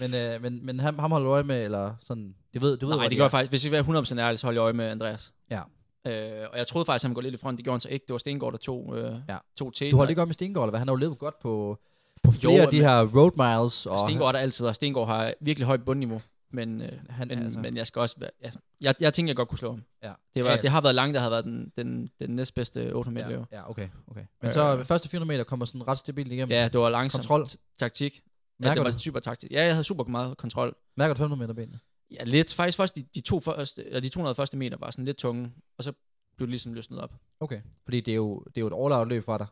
D: Men, øh, men, men ham, ham holder du øje med, eller sådan... Du ved, du ved,
E: Nej,
D: hvor
E: det
D: de
E: gør
D: er.
E: jeg faktisk. Hvis jeg vil være 100% ærlig, så holder jeg øje med Andreas.
D: Ja.
E: Øh, og jeg troede faktisk, at han ville gå lidt i front. Det gjorde han så ikke. Det var Stengård, der tog, øh,
D: Ja.
E: tog til.
D: Du holdt ikke op med Stengård, eller hvad? Han har jo levet godt på, på
E: Jo,
D: flere jo, af de
E: men-
D: her road miles. Og
E: Stengård er der altid, og Stengård har virkelig højt bundniveau. Men, øh,
D: Han,
E: men,
D: altså,
E: men jeg skal også være... Jeg, jeg, jeg tænkte, jeg godt kunne slå ham.
D: ja.
E: Det, var,
D: ja,
E: ja. det har været langt, der har været den, den, den næstbedste 800 meter
D: ja,
E: løber.
D: ja, okay, okay. Men
E: Øh.
D: øh, så øh, første 400 meter kommer sådan ret stabilt igennem.
E: Ja, det var langsomt.
D: Kontrol.
E: Taktik. Ja,
D: Mærker
E: det var
D: du?
E: super taktik. Ja, jeg havde super meget kontrol.
D: Mærker du 500 meter benene?
E: Ja, lidt. Faktisk først de, de, to første, eller de 200 første meter var sådan lidt tunge, og så blev det ligesom løsnet op.
D: Okay. Fordi det er jo, det er jo et all-out løb fra dig.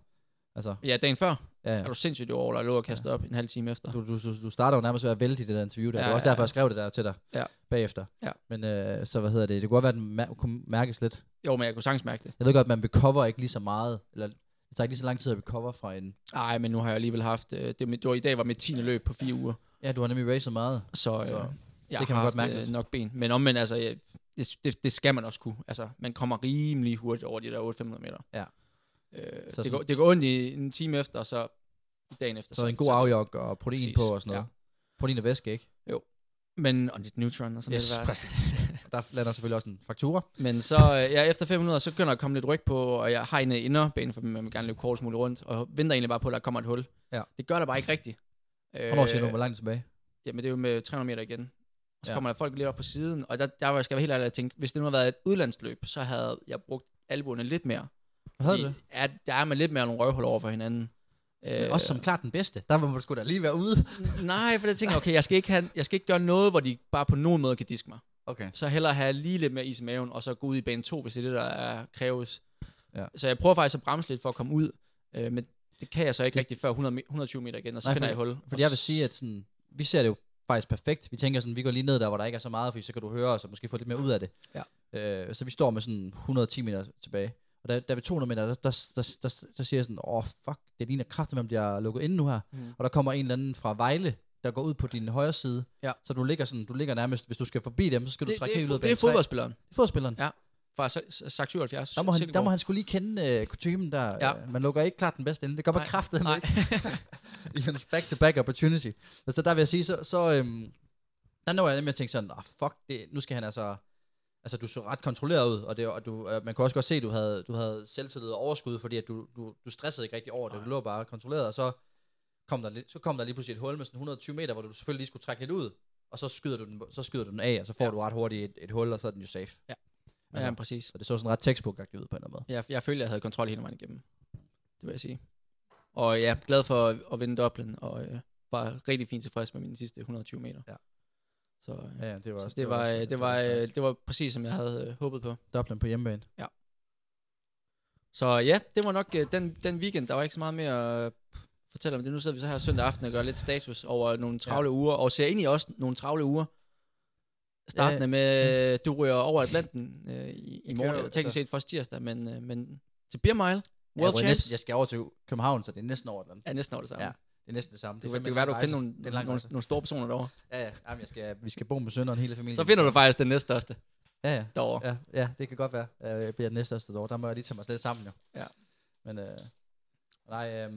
D: Altså,
E: Ja, dagen før
D: ja,
E: er
D: ja.
E: du sindssygt over, og lå og kastet op en halv time efter.
D: Du, du, du, du starter jo nærmest ved at vælte i det der interview der.
E: Ja,
D: det var også
E: ja,
D: derfor,
E: ja.
D: jeg skrev det der til dig
E: Ja.
D: bagefter.
E: Ja.
D: Men øh, så, hvad hedder det? Det kunne godt være, at den mær- kunne mærkes lidt.
E: Jo, men jeg kunne sagtens mærke det.
D: Jeg ved godt, at man recover ikke lige så meget, eller det tager ikke lige så lang tid at recover fra en...
E: Nej, men nu har jeg alligevel haft... Øh, det, var mit- det var i dag var mit 10. løb på fire uger.
D: Ja, du har nemlig racet meget.
E: Så, øh,
D: Så
E: jeg
D: det kan
E: har
D: man
E: haft,
D: godt
E: øh,
D: mærke lidt.
E: nok ben. Men omvendt, altså, jeg, det, det, det, skal man også kunne. Altså, man kommer rimelig hurtigt over de der 800 meter.
D: Ja.
E: Øh,
D: Så
E: det, går,
D: sådan-
E: det går ondt i en time efter, og så dagen efter.
D: Så en god afjok og protein
E: Præcis,
D: på og sådan noget.
E: ja.
D: Protein og væske, ikke?
E: Men og lidt neutron og sådan
D: Yes,
E: lidt. præcis.
D: Der lander selvfølgelig også en faktura.
E: Men så øh, ja, efter 500, så begynder der at komme lidt ryg på, og jeg har en øh, inderbane, for man vil gerne løbe kortest muligt rundt, og venter egentlig bare på, at der kommer et hul.
D: Ja.
E: Det gør der bare ikke rigtigt. Øh,
D: Hvornår siger du, hvor langt tilbage?
E: Jamen, det er jo med 300 meter igen. Og så ja.
D: Ja.
E: kommer der folk lidt op på siden, og der, der var, skal jeg være helt ærlig at tænke, hvis det nu havde været et udlandsløb, så havde jeg brugt albuerne lidt mere.
D: Havde du
E: Fordi,
D: det?
E: Ja, der er man lidt mere nogle røvhuller over for hinanden.
D: Øh, også som klart den bedste. Der må man sgu da lige være ude.
E: Nej, for jeg tænker, okay, jeg skal, ikke have, jeg skal ikke gøre noget, hvor de bare på nogen måde kan diske mig.
D: Okay.
E: så hellere have lige lidt mere is i maven, og så gå ud i bane 2, hvis det er det, der er, kræves. Ja.
D: Ja.
E: Så jeg prøver faktisk at bremse lidt for at komme ud, øh, men det kan jeg så ikke
D: Det-
E: rigtig før 100, me- 120 meter igen, og så Nej,
D: Nej,
E: finder jeg
D: fordi-
E: et hul.
D: Fordi jeg vil sige, at sådan, vi ser det jo faktisk perfekt. Vi tænker sådan, vi går lige ned der, hvor der ikke er så meget, fordi så kan du høre os og måske få lidt mere ud af det.
E: Ja.
D: Øh, så vi står med sådan 110 meter tilbage. Og da, da vi 200 meter, der, der, der, der, der siger jeg sådan, åh oh, fuck, det ligner kraftigt, man bliver lukket inde nu her.
E: Mm.
D: Mm. Og der kommer en eller anden fra Vejle, der går ud på din højre side.
E: Ja.
D: Så du ligger, sådan, du ligger nærmest, hvis du skal forbi dem, så skal du
E: det,
D: trække
E: det,
D: helt ud
E: er,
D: af
E: det er
D: bane tre.
E: fodboldspilleren
D: Fodboldspilleren.
E: fra Sagt 77.
D: Der må, han, der
E: Silkeborg.
D: må han skulle lige kende øh, kutumen der.
E: Ja.
D: Ja. Øh, man lukker ikke klart den bedste ende. Det går bare
E: Nej,
D: kraftet
E: nej.
D: i hans back-to-back opportunity. Men så der vil jeg sige, så, så øhm, der når jeg nemlig at tænke sådan, ah fuck, det, nu skal han altså... Altså, du så ret kontrolleret ud, og, det, og du, øh, man kunne også godt se, at du havde, du havde selvtillid og overskud, fordi at du, du, du stressede ikke rigtig over det. Du lå bare kontrolleret, og så kom, der, lidt- så kom der lige pludselig et hul med sådan 120 meter, hvor du selvfølgelig lige skulle trække lidt ud, og så skyder du den, så skyder du den af, og så får
E: Ja.
D: ja. du ret hurtigt et, et hul, Altså, og så er den jo safe.
E: Ja. Ja, ja, præcis.
D: Så det så sådan ret textbook ud på en eller anden måde.
E: Jeg, jeg følte, jeg havde kontrol hele vejen igennem. Det vil jeg sige. Og ja, glad for at, at vinde Dublin, og øh, var rigtig fint tilfreds med mine sidste 120 meter.
D: Ja.
E: Så, øh,
D: Ja, ja det var,
E: så det, var, øh, det, var, det, var,
D: øh,
E: øh, det var præcis, som jeg havde øh, håbet på.
D: Dublin på hjemmebane.
E: Så ja, det var nok øh, den, den weekend. Der var ikke så meget mere at øh, fortælle om det. Nu sidder vi så her søndag aften og gør lidt status over nogle travle ja. uger, og ser egentlig også nogle travle uger. Startende
D: Ja.
E: med, øh, du ryger over Atlanten øh, i, i morgen,
D: kører, altså.
E: eller teknisk set først tirsdag, men, øh, men til Beer Mile, World
D: jeg,
E: ja,
D: var næsten,
E: Champs,
D: jeg skal over til København, så det er næsten over den.
E: er næsten over det samme.
D: Ja, Det er næsten det samme.
E: Det,
D: er
E: det, det kan
D: fandme
E: være,
D: en
E: du finder nogle,
D: lang rejse. Det er en lang
E: nogle,
D: rejse.
E: nogle store personer derovre.
D: Ja, ja. Jamen, jeg skal, vi skal bo med sønderen hele familien.
E: Så finder du faktisk den næststørste
D: Ja, ja.
E: derovre. Ja.
D: Ja, ja, det kan godt være. Øh, Jeg bliver den næste også år. Der må jeg lige tage mig selv sammen jo.
E: Ja.
D: Men øh, nej, øh,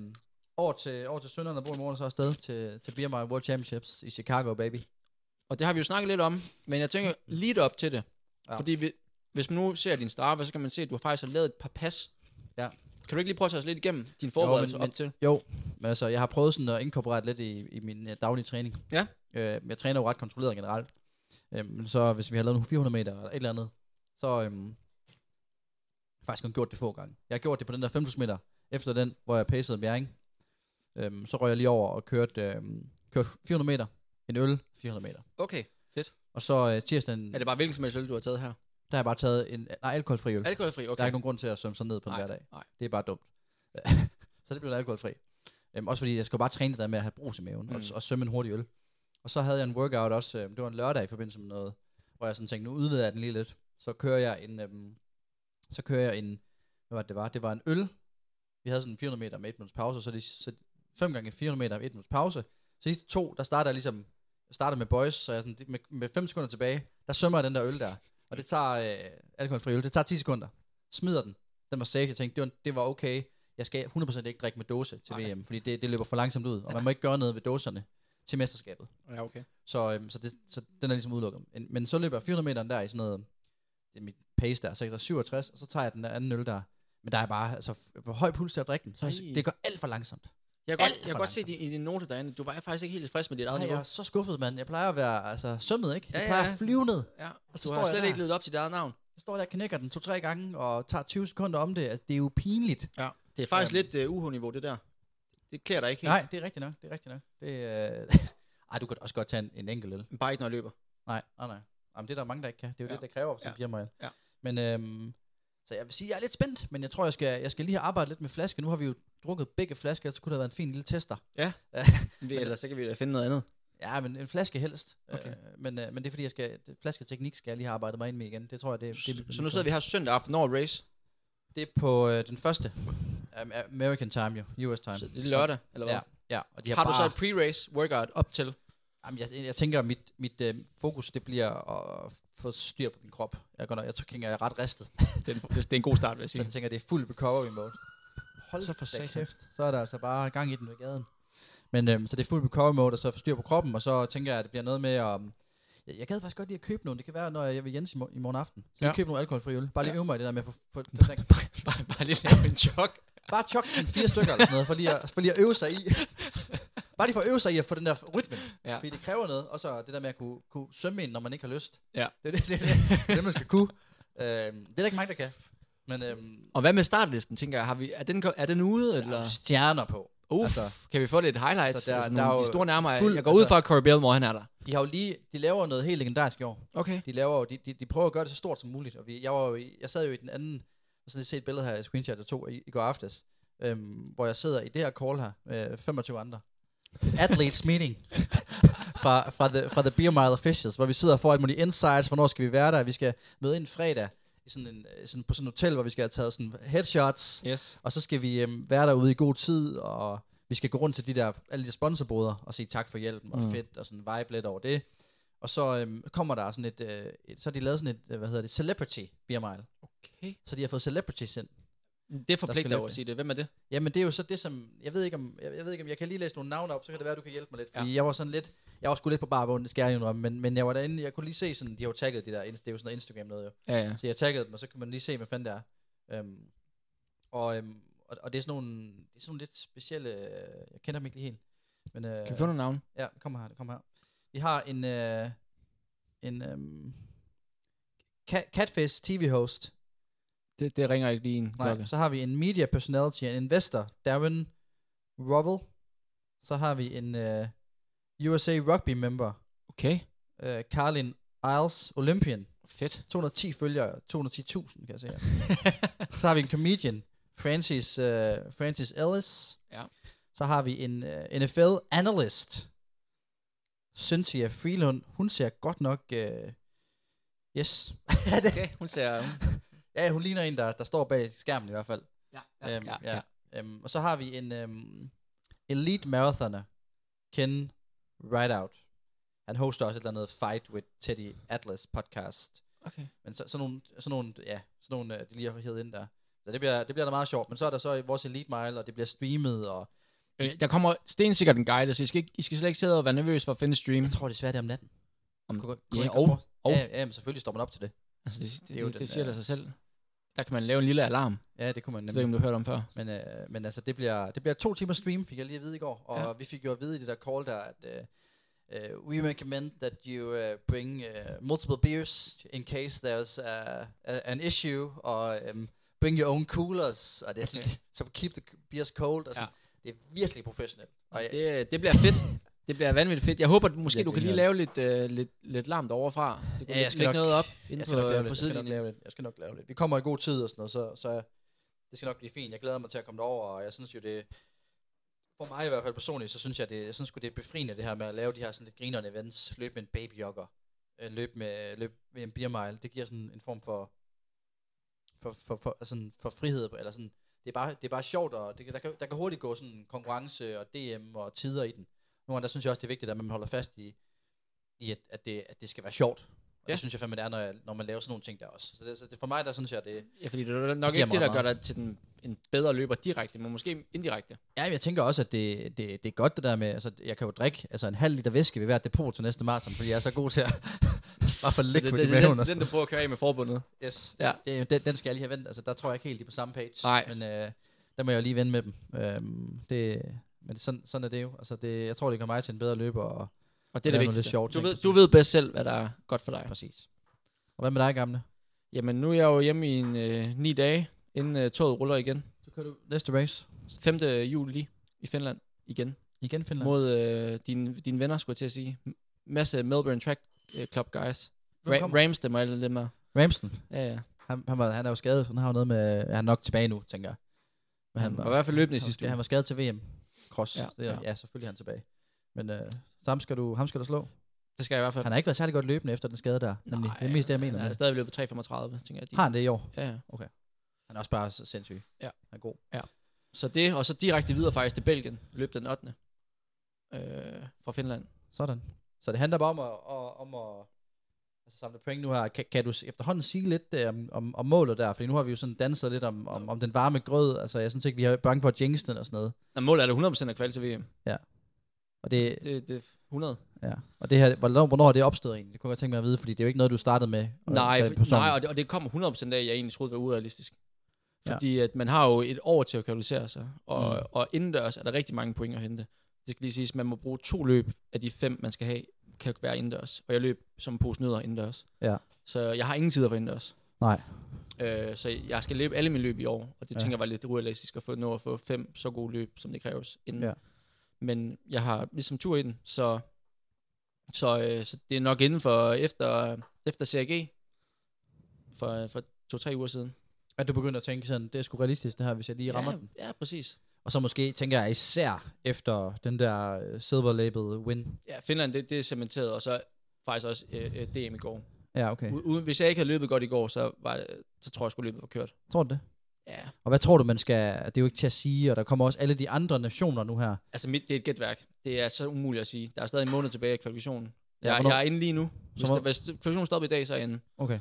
D: over til, over til sønderen og bor i morgen og så afsted til, til Beer Mile World Championships i Chicago, baby.
E: Og det har vi jo snakket lidt om, men jeg tænker lige op til det.
D: Ja.
E: Ja. Fordi vi, hvis man nu ser din straffe, så kan man se, at du har faktisk har lavet et par pas.
D: Ja.
E: Kan du ikke lige prøve at tage os lidt igennem din forberedelse
D: men-
E: op til?
D: Jo, men altså, jeg har prøvet sådan at inkorporere lidt i, i min øh, daglige træning.
E: Ja.
D: Øh, jeg træner jo ret kontrolleret generelt. Øh, men så hvis vi har lavet nogle 400 meter eller et eller andet, så øhm, har jeg faktisk kun gjort det få gange. Jeg har gjort det på den der 5.000 meter, efter den, hvor jeg pacede Bjerring. Øhm, så røg jeg lige over og kørte, øhm, kørte 400 meter, en øl, 400 meter.
E: Okay.
D: Og så øh, tirsdagen,
E: Er det bare hvilken som helst øl, du har taget her?
D: der har jeg bare taget en nej, alkoholfri øl. Okay.
E: Alkoholfri, okay.
D: Der er Mm. ikke nogen grund til at svømme sådan ned på en
E: nej,
D: hverdag.
E: Nej.
D: Det er bare dumt. så det blev en alkoholfri. Øhm, også fordi jeg skulle bare træne det der med at have brus i maven mm. og,
E: Mm.
D: og sømme en hurtig øl. Og så havde jeg en workout også, øhm, det var en lørdag i forbindelse med noget, hvor jeg sådan tænkte, nu udvider jeg den lige lidt. Så kører jeg en, øhm, så kører jeg en, hvad var det, det var? Det var en øl. Vi havde sådan 400 meter med et minuts pause, og så, de, så 5 gange 400 meter med et minuts pause. Så sidste to, der starter jeg ligesom, jeg starter med boys, så jeg sådan, med, med 5 sekunder tilbage, der sømmer jeg den der øl der. Og det tager, øh, alkoholfri øl, det tager 10 sekunder. Smider den. Den var safe, jeg tænkte, det var, det var okay. Jeg skal 100% ikke drikke med dåse til
E: Nej.
D: VM, fordi det, det løber for langsomt ud, og man må ikke gøre noget ved dåserne til mesterskabet.
E: Ja, okay.
D: Så, øhm, så, det, så den er ligesom udelukket. Men- Men så løber jeg 400 meter der i sådan noget, det er mit pace der, 667, og så tager jeg den der anden øl der. Men der er bare altså, f- for høj puls til at drikke den. Så jeg,
E: Ej.
D: det går alt for langsomt.
E: Jeg kan
D: Alt
E: godt, jeg kan
D: for
E: godt se
D: langsomt.
E: din, i dine noter derinde, du var faktisk ikke helt tilfreds med dit eget
D: Ej, jeg
E: niveau.
D: er så skuffet, mand. Jeg plejer at være altså, sømmet, ikke? Jeg
E: Ja, ja,
D: plejer
E: ja.
D: at flyve ned.
E: Ja,
D: Og så
E: du
D: står
E: har
D: jeg
E: slet
D: der.
E: ikke levet op til dit eget navn.
D: Jeg står der og knækker den to-tre gange og tager 20 sekunder om det. Altså, det er jo pinligt.
E: Ja. Det er faktisk
D: Øhm.
E: lidt uh, UH-niveau, det der. Det klæder dig ikke helt.
D: Nej, det er rigtigt nok. Det er rigtigt nok. Det, øh... Ej, du kan også godt tage en, en enkelt øl.
E: Bare ikke, når jeg løber.
D: Nej, nej, nej. Jamen, det er der mange, der ikke kan. Det er jo
E: Ja.
D: det, der kræver som
E: Ja.
D: ja. mig.
E: Ja.
D: Men øhm, så jeg vil sige, jeg er lidt spændt, men jeg tror, jeg skal, jeg skal lige have arbejdet lidt med flaske. Nu har vi jo drukket begge flasker, så kunne det have været en fin lille tester.
E: Vi, ellers så kan vi da finde noget andet.
D: Ja, men en flaske helst.
E: Okay.
D: Øh, men, øh, men det er fordi, jeg skal, det, flasketeknik skal jeg lige have arbejdet mig ind med igen. Det tror jeg, det, det
E: Så nu sidder vi her søndag aften over race.
D: Det er på øh, den første. Am- American time jo, US time.
E: Så det er lørdag, eller hvad?
D: Ja, ja. Og de
E: Ja,
D: har,
E: har du
D: bare,
E: så et pre-race workout op til?
D: Jamen, jeg, jeg tænker, at mit, mit øh, fokus det bliver at få styr på min krop. Jeg, går nok, jeg tænker, jeg er ret ristet.
E: Det er, en, det er en god start, vil jeg
D: Så jeg tænker, det er fuld recovery mode. Hold
E: Så for
D: da
E: satan.
D: kæft, Så er der altså bare gang i den ved gaden. Men øhm, så det er fuld recovery mode, og så styr på kroppen, og så tænker jeg, at det bliver noget med at... Jeg, jeg gad faktisk godt lide at købe nogle. Det kan være, når jeg er ved Jens i, mor- i morgen aften. Så ja.
E: Ja.
D: købe nogle alkoholfri øl. Bare lige
E: Ja.
D: øve mig i det der med at få... få
E: bare, bare lige lave en jog.
D: bare chok sådan fire stykker eller sådan noget, for lige, at, for lige at øve sig i. bare lige for at øve sig i at få den der rytme.
E: Ja.
D: Fordi det kræver noget. Og så det der med at kunne, kunne sømme ind, når man ikke har lyst.
E: Ja.
D: Det er det, det, det, det, er det man skal kunne. Øhm, det er der ikke mange, der kan. Men øhm,
E: Og hvad med startlisten, tænker jeg? Har vi, er, den, ko- er den ude,
D: der er
E: eller?
D: jo stjerner på.
E: Uff,
D: altså-
E: altså, kan vi få lidt highlights?
D: Så der-
E: Der, altså,
D: der
E: der
D: er
E: nogle,
D: jo
E: de store nærmere.
D: fuld-
E: jeg går ud
D: altså-
E: fra, at Corey Belmore, han er der.
D: De har jo lige, de laver noget helt legendarisk i år.
E: Okay.
D: De laver jo, de, de, de prøver at gøre det så stort som muligt. Og vi, jeg, var jo i, jeg sad jo i den anden, og så lige set et billede her i screenshot der to i, i går aftes, øhm, hvor jeg sidder i det her call her med 25 andre. Athletes meeting fra, fra, the, fra the Beer Mile Officials, hvor vi sidder og får alt muligt insights, hvornår skal vi være der, vi skal møde ind fredag i sådan en, øh, sådan på sådan et hotel, hvor vi skal have taget sådan headshots,
E: Yes.
D: og så skal vi øhm, være derude i god tid, og vi skal gå rundt til de der, alle de der sponsorboder og sige tak for hjælpen, og mm.
E: Mm.
D: fedt, og sådan vibe lidt over det. Og så øhm, kommer der sådan et, øh, et, så har de lavet sådan et, øh, hvad hedder det, celebrity beer mile.
E: Okay.
D: Så de har fået celebrity sind.
E: Det forpligter
D: løbe
E: jo at
D: det.
E: sige det. Hvem er det?
D: Jamen det er jo så det, som, jeg ved ikke om, jeg, jeg ved ikke om, jeg kan lige læse nogle navne op, så kan det være, du kan hjælpe mig lidt. Fordi ja. jeg var sådan lidt, jeg var sgu lidt på barbogen, det skal jeg indrømme, men, men jeg var derinde, jeg kunne lige se sådan, de har jo tagget de der, det er jo sådan noget Instagram noget jo.
E: Ja, ja.
D: Så jeg taggede dem, og så kan man lige se, hvad fanden det er. Øhm, og, øhm, og, og det er sådan nogle, det er sådan nogle lidt specielle... Øh, jeg kender dem ikke lige helt. Men, øh,
E: Kan vi få nogle navne?
D: Ja, det kommer her, det kommer her. Vi har en... Øh, en øhm, Ca- Catfish TV-host.
E: Det, det ringer ikke lige en
D: Nej,
E: klokke.
D: så har vi en media personality, en investor, Darren Rovell. Så har vi en øh, USA rugby member,
E: Okay,
D: øh, Carlin Isles Olympian.
E: fedt.
D: 210 følgere, 210.000 kan jeg se her. så har vi en comedian, Francis, øh, Francis Ellis.
E: Ja.
D: Så har vi en øh, NFL analyst, Cynthia Freelund. Hun ser godt nok... Øh, yes.
E: Okay, hun ser...
D: ja, hun ligner en, der, der står bag skærmen i hvert fald.
E: Ja,
D: Øhm, ja, ja. Øhm, og så har vi en øhm, elite marathoner, Ken Rideout. Han hoster også et eller andet Fight with Teddy Atlas podcast.
E: Okay.
D: Men så, sådan nogle, sådan nogle, ja, sådan nogle, øh, de lige har hævet ind der. Så det bliver, det bliver da meget sjovt. Men så er der så vores Elite Mile, og det bliver streamet, og
E: Øh, Der kommer stensikkert en guide, så I skal, ikke, I skal slet ikke sidde og være nervøs for at finde stream.
D: jeg tror, det er svært det er om natten.
E: Om-
D: Kunne- kunne
E: ja,
D: ikke
E: og-
D: godt for-
E: og-
D: ja, ja, men selvfølgelig står man op til det.
E: Altså, det, det,
D: Det er jo
E: det, det,
D: den
E: det siger
D: der-
E: da sig selv. Der kan man lave en lille alarm.
D: Ja, det kunne man
E: Det ved jeg,
D: nemlig.
E: ikke, om du har hørt om før.
D: Men, øh, men altså, det bliver, det bliver to timer stream, fik jeg lige at vide i går. Og
E: Ja.
D: ja. vi fik jo at vide i det der call der, at øh, øh, we recommend that you uh, bring uh, multiple beers in case there's a, a, an issue, og um, bring your own coolers, og det er sådan,
E: Okay.
D: okay. so keep the beers cold. Og sådan. Ja. Det er virkelig professionelt. Og jeg,
E: Det, det bliver fedt. Det bliver vanvittigt fedt. Jeg håber, at måske
D: Jeg
E: du kan lige
D: griner.
E: lave lidt, øh, lidt, lidt larm derovre fra. Det kunne
D: Ja, jeg
E: lægge
D: skal nok-
E: noget op inde
D: jeg skal, nok
E: på,
D: lave
E: øh,
D: lidt,
E: på
D: jeg skal nok
E: sidelinjen.
D: lave lidt. Jeg skal nok lave lidt. Vi kommer i god tid og sådan noget, så, så det skal nok blive fint. Jeg glæder mig til at komme derover, og jeg synes jo, det for mig i hvert fald personligt, så synes jeg, det, jeg synes sgu, det er befriende det her med at lave de her sådan lidt grinerende events, løbe med en babyjogger, øh, løbe med, løb med en biermile. Det giver sådan en form for, for, for, for, altså for frihed, eller sådan, det er bare, det er bare sjovt, og det, kan- der, kan, der kan hurtigt gå sådan en konkurrence og DM og tider i den. Nogle gange, der synes jeg også, det er vigtigt, at man holder fast i, i at, at, det, at det skal være sjovt. Og
E: Ja.
D: ja. det synes jeg fandme, det er, når, jeg, når man laver sådan nogle ting der også. Så, det, så det, for mig, der synes jeg, det
E: Ja, fordi det er nok
D: giver
E: ikke det,
D: mig
E: der gør
D: meget.
E: dig til den, en bedre løber direkte, men måske indirekte.
D: Ja, jeg tænker også, at det, det, det er godt det der med, altså jeg kan jo drikke altså en halv liter væske ved hvert depot til næste maraton, fordi jeg er så god til at bare få
E: Det,
D: liquid
E: det,
D: i
E: det,
D: maven.
E: det,
D: og
E: den,
D: sådan.
E: den, du prøver at køre af med forbundet.
D: Yes,
E: Ja.
D: ja. det, den, den skal jeg lige have vendt. Altså, der tror jeg ikke helt, de er på samme page.
E: Nej.
D: Men øh, der må jeg jo lige vende med dem. Øhm, det, men det, sådan, sådan er det jo. Altså, det, jeg tror, det gør mig til en bedre løber. Og,
E: Og det er
D: Det er
E: det
D: noget
E: vigtigste.
D: lidt sjovt,
E: du,
D: ikke?
E: ved, du ved bedst selv, hvad der er godt for dig.
D: præcis. Og hvad med dig, gamle?
E: Jamen, nu er jeg jo hjemme i en, øh, ni dage, inden øh, toget ruller igen.
D: Du kører du næste race.
E: 5. juli i Finland igen.
D: Igen Finland.
E: Mod øh, dine, dine venner, skulle jeg til at sige. M- masse Melbourne Track øh, Club guys.
D: Hvem
E: Ra-
D: kommer?
E: Rams, dem og alle dem her.
D: Ramsen.
E: Ja, ja.
D: Han, han, var, han er jo skadet, så han har jo noget med... Han er nok tilbage nu, tænker jeg. Men
E: Han var Mm, i hvert fald løbende i
D: han-
E: sidste
D: ja,
E: uge.
D: Han var skadet til VM. Cross.
E: Ja,
D: Ja, det er,
E: ja.
D: ja. ja selvfølgelig er han tilbage. Men øh, så ham skal, du, ham skal du slå.
E: Det skal jeg i hvert fald.
D: Han har ikke været særlig godt løbende efter den skade der. Nemlig. det er mest det, jeg mener.
E: Han er
D: med.
E: stadig løbet 3,35, tænker jeg. De.
D: Har han det i år?
E: Ja, ja.
D: Han er også bare så sindssyg.
E: Ja.
D: Han er god.
E: Så det, og så direkte videre faktisk til Belgien. Løb den 8. Øh, fra Finland.
D: Sådan. Så det handler bare om at, og- om at altså, samle point nu her. Kan, kan du s- efterhånden sige lidt øh, om, om, om målet der? Fordi nu har vi jo sådan danset lidt om, om, om den varme grød. Altså, jeg synes ikke, vi er bange for at jinx den og sådan noget.
E: Nå, målet er da 100% at kvalde til VM.
D: Og
E: Altså, Det,
D: det,
E: det, det 100.
D: ja. og det her, hvornår, hvornår er det opstået egentlig? Det kunne jeg godt tænke mig at vide, fordi det er jo ikke noget, du startede med. øh,
E: Nej,
D: der
E: for,
D: på sommeren.
E: nej og, det, og det kommer 100% af, at jeg egentlig troede var urealistisk.
D: Ja.
E: Fordi at man har jo et år til at kvalificere sig, og, mm.
D: Mm.
E: og indendørs er der rigtig mange point at hente. Det skal lige siges, man må bruge to løb af de fem, man skal have, kan være indendørs. Og jeg løb som en pose nødder indendørs.
D: Ja.
E: Så jeg har ingen tider for indendørs.
D: Nej.
E: Øh, så jeg skal løbe alle mine løb i år, og det
D: Ja.
E: tænker jeg var lidt urealistisk at få nå at få fem så gode løb, som det kræves inden.
D: Ja.
E: Men jeg har ligesom tur i den, så, så, øh, så det er nok inden for efter, efter CRG for, for to-tre uger siden.
D: At du begynder at tænke sådan, det er sgu realistisk det her, hvis jeg lige rammer
E: ja,
D: den.
E: ja, præcis.
D: Og så måske tænker jeg især efter den der øh, silver label win.
E: Ja, Finland, det, det er cementeret, og så faktisk også øh, øh, DM i går.
D: Ja, okay.
E: U- uden, hvis jeg ikke havde løbet godt i går, så, var, så tror jeg, skulle løbet var kørt.
D: Tror du det?
E: Ja,
D: Og hvad tror du, man skal... Det er jo ikke til at sige, og der kommer også alle de andre nationer nu her.
E: altså mit, det er et gætværk. Det er så umuligt at sige. Der er stadig en måned tilbage af kvalifikationen.
D: Ja,
E: Ja, jeg,
D: hvornår-
E: jeg er inde lige nu. Hvis,
D: hvor-
E: der, hvis kvalifikationen stopper i dag, så er jeg inde.
D: Okay.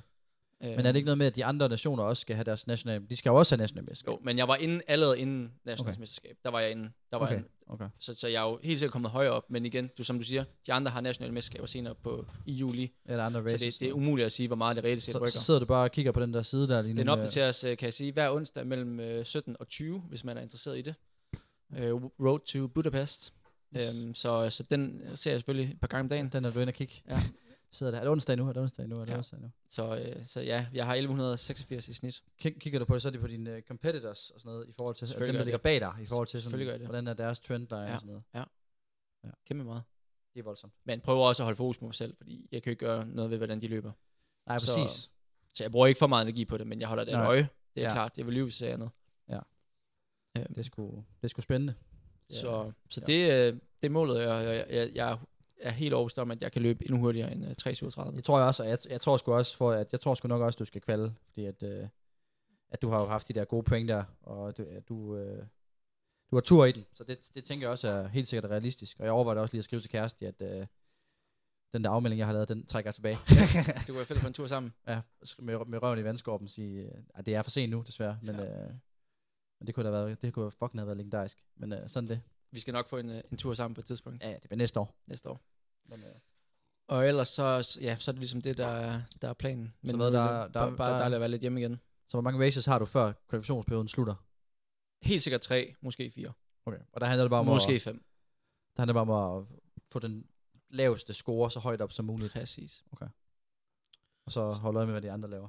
E: Øh,
D: Men er det ikke noget med, at de andre nationer også skal have deres nationale... De skal jo også have nationale mesterskab.
E: øh, Jo, men jeg var inde allerede inden
D: Okay.
E: nationalmesterskab. Der var jeg inde. Der var okay.
D: Okay,
E: jeg,
D: okay.
E: så, så jeg er jo helt sikkert kommet højere op, men igen, du, som du siger, de andre har nationale mesterskaber senere på, i juli,
D: Eller andre
E: så
D: races.
E: det, det er umuligt at sige, hvor meget det reelt set
D: så,
E: rykker.
D: så, sidder du bare og kigger på den der side der lige nu.
E: Den
D: med-
E: opdateres, øh, kan jeg sige, hver onsdag mellem øh, 17 og 20, hvis man er interesseret i det. Øh, Road to Budapest. Øhm, så, så den ser jeg selvfølgelig et par gange om dagen.
D: Den er du inde og kigge.
E: Ja.
D: sidder der. Er det onsdag nu? Er det onsdag nu? Er det
E: Ja.
D: onsdag nu?
E: Så, øh, så ja, jeg har 1186 i snit.
D: Kig, kigger du på det, så er det på dine øh, competitors og sådan noget, i forhold til dem,
E: Selvfølgelig
D: der
E: gør
D: ligger bag dig, i forhold til,
E: Selvfølgelig gør
D: sådan,
E: jeg det.
D: hvordan er deres trendline og sådan noget.
E: Kæmpe meget.
D: Det er voldsomt.
E: Men prøver også at holde fokus på mig selv, fordi jeg kan jo ikke gøre noget ved, hvordan de løber.
D: Nej,
E: Så-
D: præcis.
E: Så jeg bruger ikke for meget energi på det, men jeg holder det
D: Nej.
E: Nej. øje. Det er
D: Ja.
E: ja. klart, jeg vil lyve, hvis jeg andet.
D: Ja.
E: Øhm,
D: Det er sgu, det er sgu spændende.
E: Så, så
D: Ja.
E: det, øh, det er målet, og jeg, jeg, jeg er helt overbevist om, at jeg kan løbe endnu hurtigere end øh, 3.37.
D: Jeg tror jeg også, og jeg, jeg tror sgu også, for at jeg tror sgu nok også, du skal kvalde, fordi at, øh, at du har jo haft de der gode point der, og du, at du, øh, du har tur i den, så det, det tænker jeg også er helt sikkert realistisk, og jeg overvejer også lige at skrive til kæreste, at øh, den der afmelding, jeg har lavet, den trækker jeg tilbage.
E: Det kunne være fedt at få en tur sammen.
D: ja, sk- med, med røven i vandskorben sige, øh, at det er for sent nu, desværre, men, ja. øh, men det kunne da have været, det kunne have fucking have været legendarisk, men øh, sådan er det.
E: Vi skal nok få en, øh, en tur sammen på et tidspunkt
D: Ja, det bliver næste år.
E: næste år.
D: Men, øh,
E: Og ellers så, ja, så er det ligesom det, der, er- der er planen. Men
D: hvad,
E: nu er det
D: der- der-
E: bare, bare
D: der-
E: dejligt at være lidt hjemme igen.
D: så hvor mange races har du, før kvalifikationsperioden slutter?
E: Helt sikkert tre, måske fire.
D: Okay. Og der handler det bare om at,
E: Måske fem.
D: Der handler det bare om at få den laveste score så højt op som muligt,
E: Præcis.
D: og så holde øje med, hvad de andre laver.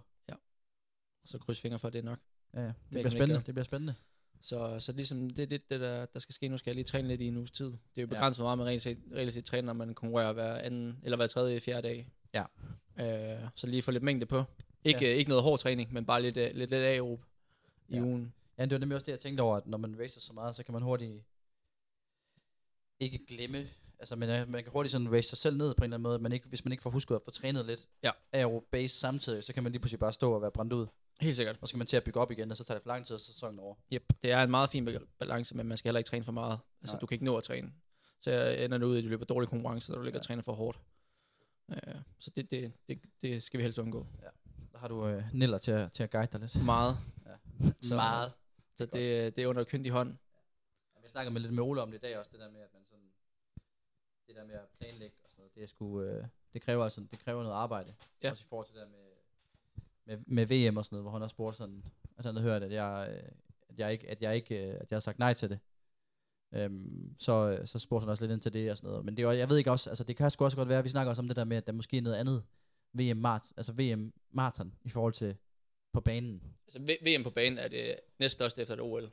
E: Så kryds fingre for, at det er nok.
D: Ja, ja. Det,
E: kan
D: bliver
E: man ikke
D: spændende.
E: gøre.
D: Det bliver spændende.
E: Så, så ligesom det er lidt det, der, der skal ske. Nu skal jeg lige træne lidt i en uges tid. Det er jo
D: Ja.
E: begrænset, hvor meget man reelt set, reelt set træner, når man konkurrerer hver anden, eller hver tredje, fjerde dag.
D: Ja.
E: Øh, så lige få lidt mængde på. Ikke,
D: Ja.
E: ja. ikke noget hård træning, men bare lidt, øh, lidt, lidt aerob i
D: Ja.
E: ugen.
D: Ja, det var nemlig også det, jeg tænkte over, at når man racer så meget, så kan man hurtigt ikke glemme, altså men øh, man kan hurtigt sådan race sig selv ned på en eller anden måde, man ikke, hvis man ikke får husket at få trænet lidt
E: Ja.
D: aerob base samtidig, så kan man lige pludselig bare stå og være brændt ud,
E: Helt sikkert.
D: og så skal man til at bygge op igen, og så tager det for lang tid, og så er sæsonen over.
E: Yep. Det er en meget fin ba- balance, men man skal heller ikke træne for meget. Altså,
D: Nej.
E: Nej. du kan ikke nå at træne. Så jeg ender det ud i, at du løber dårlig konkurrence, når du ligger
D: Ja.
E: og træner for hårdt. Øh, så det, det, det, det skal vi helst undgå.
D: Der har du øh, Niller til at, til at guide dig lidt.
E: Meget.
D: Så,
E: Så-
D: Meget.
E: Så
D: Det er
E: det, det er under kyndig hånd.
D: Jeg snakkede med lidt med Ole om det i dag også, det der med, at man sådan, det der med at planlægge og sådan noget, det, er sgu, øh, det kræver altså, det kræver noget arbejde.
E: Ja.
D: Også i forhold til det der med, med, med VM og sådan noget, hvor han også spurgte sådan, at han havde hørt, at jeg, øh, at jeg ikke, at jeg ikke, øh, at jeg har sagt nej til det. Øhm, så, øh, så spurgte han også lidt ind til det og sådan noget. Men det var, jeg ved ikke også, altså det kan sgu også godt være, vi snakker også om det der med, at der måske er noget andet VM mart, altså VM maraton i forhold til på banen.
E: Altså, V- VM på banen er det næststørste efter et OL.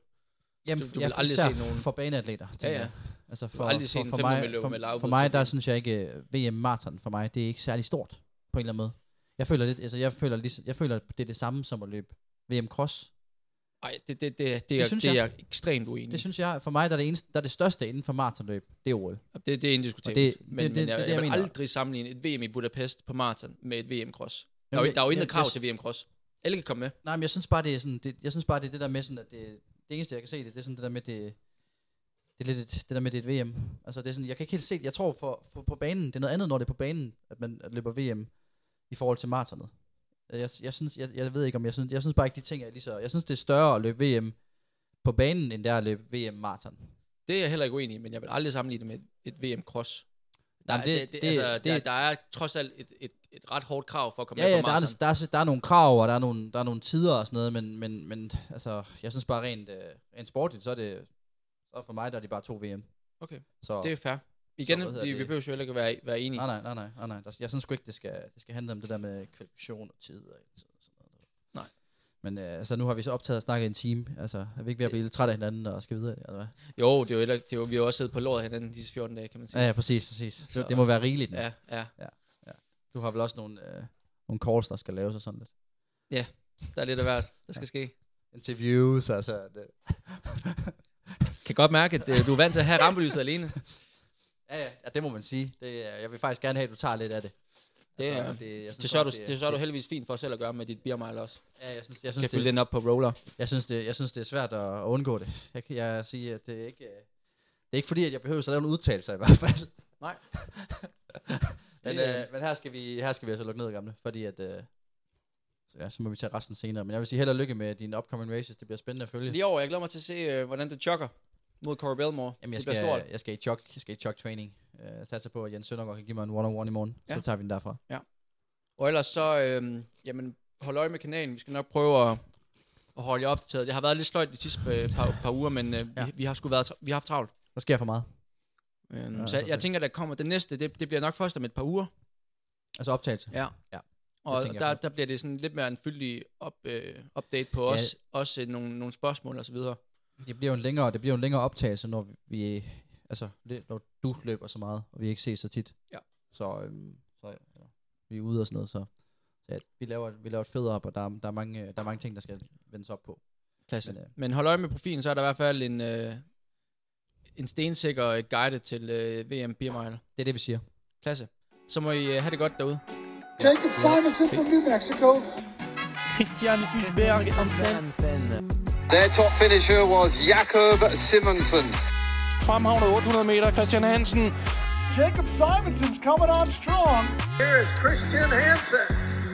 D: Jamen,
E: du
D: ja,
E: vil aldrig
D: især
E: se nogen-
D: For baneatleter, tænker
E: ja.
D: jeg. Altså for,
E: aldrig se
D: for,
E: en
D: for, mig,
E: 500-meter
D: for,
E: med
D: for
E: lavbud
D: mig,
E: til
D: der
E: det.
D: synes jeg ikke, øh, VM Marathon for mig, det er ikke særlig stort, på en eller anden måde. Jeg føler, lidt, altså, jeg føler, lige, jeg føler det er det samme som at løbe VM Cross.
E: Nej, det, det, det, det, det, er,
D: synes
E: det er
D: jeg.
E: jeg ekstremt uenig i.
D: Det synes jeg, for mig, der er det, eneste, der er det største inden for maratonløb, det er OL.
E: Det, det er indiskutabelt.
D: Og det-
E: Men,
D: det-
E: men
D: det-
E: jeg,
D: det er det,
E: jeg,
D: jeg
E: vil
D: mener.
E: aldrig sammenligne et VM i Budapest på maraton med et VM-cross. Der er
D: Jamen,
E: jo, der er jo
D: jeg-
E: intet
D: jeg-
E: krav
D: jeg-
E: til VM-cross. Alle kan komme med.
D: Nej, men jeg synes bare, det er, sådan, det, jeg synes bare, det, er det der med, sådan, at det, det eneste, jeg kan se det, det er sådan det der med, det, det er lidt et, det der med, det er et VM. Altså, det er sådan, jeg kan ikke helt se det. Jeg tror for, for, på banen, det er noget andet, når det er på banen, at man løber VM i forhold til maratonet. Øh, Jeg, jeg, synes, jeg, jeg ved ikke, om jeg synes, jeg synes bare ikke, de ting er lige så... Jeg synes, det er større at løbe VM på banen, end det er at løbe VM maraton.
E: Det er jeg heller ikke uenig i, men jeg vil aldrig sammenligne det med et, et VM-cross. Der,
D: Jamen,
E: det,
D: det-
E: det,
D: det-
E: det, altså,
D: det-
E: der, der er trods alt et, et, et ret hårdt krav for at komme
D: Ja,
E: med
D: ja,
E: på
D: der er,
E: maraton.
D: der, er, der er nogle krav, og der er nogle, der er nogle tider og sådan noget, men, men, men altså, jeg synes bare rent, øh, rent sportligt, så er det... Så for mig, der er det bare to VM.
E: Okay.
D: Så,
E: Det er fair. Igen,
D: Så, hvad hedder
E: vi,
D: det?
E: vi behøver jo heller ikke at være, være enige.
D: Nej, nej, nej, nej, nej, nej. Der, jeg synes sgu ikke, det skal, det skal handle om det der med kvalifikation og tid og tid og sådan noget.
E: Nej.
D: Men øh, altså, nu har vi så optaget og snakket i en time. Altså, er vi ikke ved at blive lidt trætte af hinanden og skal videre, eller hvad?
E: Jo, det er jo, heller, det er jo, vi har jo også siddet på låret hinanden disse 14 dage, kan man sige.
D: Ja, ja præcis, præcis. Så,
E: Så-
D: det må være rigeligt. Ja.
E: ja. ja.
D: Du har vel også nogle, øh, nogle calls, der skal laves og sådan lidt.
E: Der er lidt af hvert, der skal ske.
D: Interviews, altså. Det.
E: Kan godt mærke, at øh, du er vant til at have rampelyset alene.
D: Ja, ja, ja, det må man sige. Det, øh, jeg vil faktisk gerne have, at du tager lidt af det. Altså,
E: Det er- Mm.
D: det, jeg synes,
E: Det sørger du,
D: godt,
E: det sørger du heldigvis fint for selv at gøre med dit beermile også.
D: Ja, jeg synes,
E: Kan
D: jeg synes,
E: fylde
D: det,
E: den op på roller.
D: jeg synes, det, jeg synes, det er svært at at undgå det. Jeg, kan- jeg siger, at det er ikke... øh, Det er ikke fordi, at jeg behøver at lave en udtalelse i hvert fald.
E: Nej.
D: Men,
E: Det,
D: øh, men her, skal vi, her skal vi altså lukke ned, gamle, fordi at... Øh, så ja, så må vi tage resten senere. Men jeg vil sige held og lykke med dine upcoming races. Det bliver spændende at følge.
E: Lige over, jeg glæder mig til at se, øh, hvordan det chokker mod Corey Belmore.
D: Jamen, jeg
E: det bliver stort.
D: skal, jeg skal i chok, jeg skal i chok training. Øh, Jeg satser på, at Jens Søndergaard kan give mig en one-on-one i morgen. Ja. Så
E: Ja.
D: tager vi den derfra.
E: Og ellers så, øh, jamen, hold øje med kanalen. Vi skal nok prøve at, at holde jer opdateret. Det har været lidt sløjt de sidste øh, par, par uger, men øh,
D: Ja.
E: ja. vi, vi, har sgu været tra- vi har haft travlt.
D: Der sker for meget.
E: Øhm,
D: Ja,
E: så jeg,
D: okay.
E: jeg tænker, der kommer det næste, det, det bliver nok først om et par uger.
D: Altså optagelse.
E: Ja.
D: Ja.
E: Og
D: tænker jeg
E: der,
D: på.
E: der bliver det sådan lidt mere en fyldig op, øh, update på
D: Ja.
E: os, også øh, nogle, nogle spørgsmål og så videre.
D: Det bliver jo en længere, det bliver jo en længere optagelse, når vi, altså, det- når du løber så meget, og vi ikke ses så tit.
E: Ja.
D: Så, øhm, så ja, vi er ude og sådan noget, så, så ja, vi, laver, vi laver et fedt op, og der, er- der, er mange, øh, der er mange ting, der skal vendes op på.
E: Klasse.
D: Men,
E: Men,
D: øh,
E: øh. Men hold øje med profilen, så er der i hvert fald en, øh, en stensikker øh, guide til øh, VM Beer Mile.
D: Det er det, vi siger.
E: Klasse. Så må I øh, have det godt derude.
A: Jacob Simonson from New Mexico.
B: Christian Hulberg Hansen
C: Their top finisher was Jakob Simonsen.
B: fremhavner 800 meter, Christian Hansen
A: Jacob Simonson's coming on strong.
F: Here is Christian Hansen.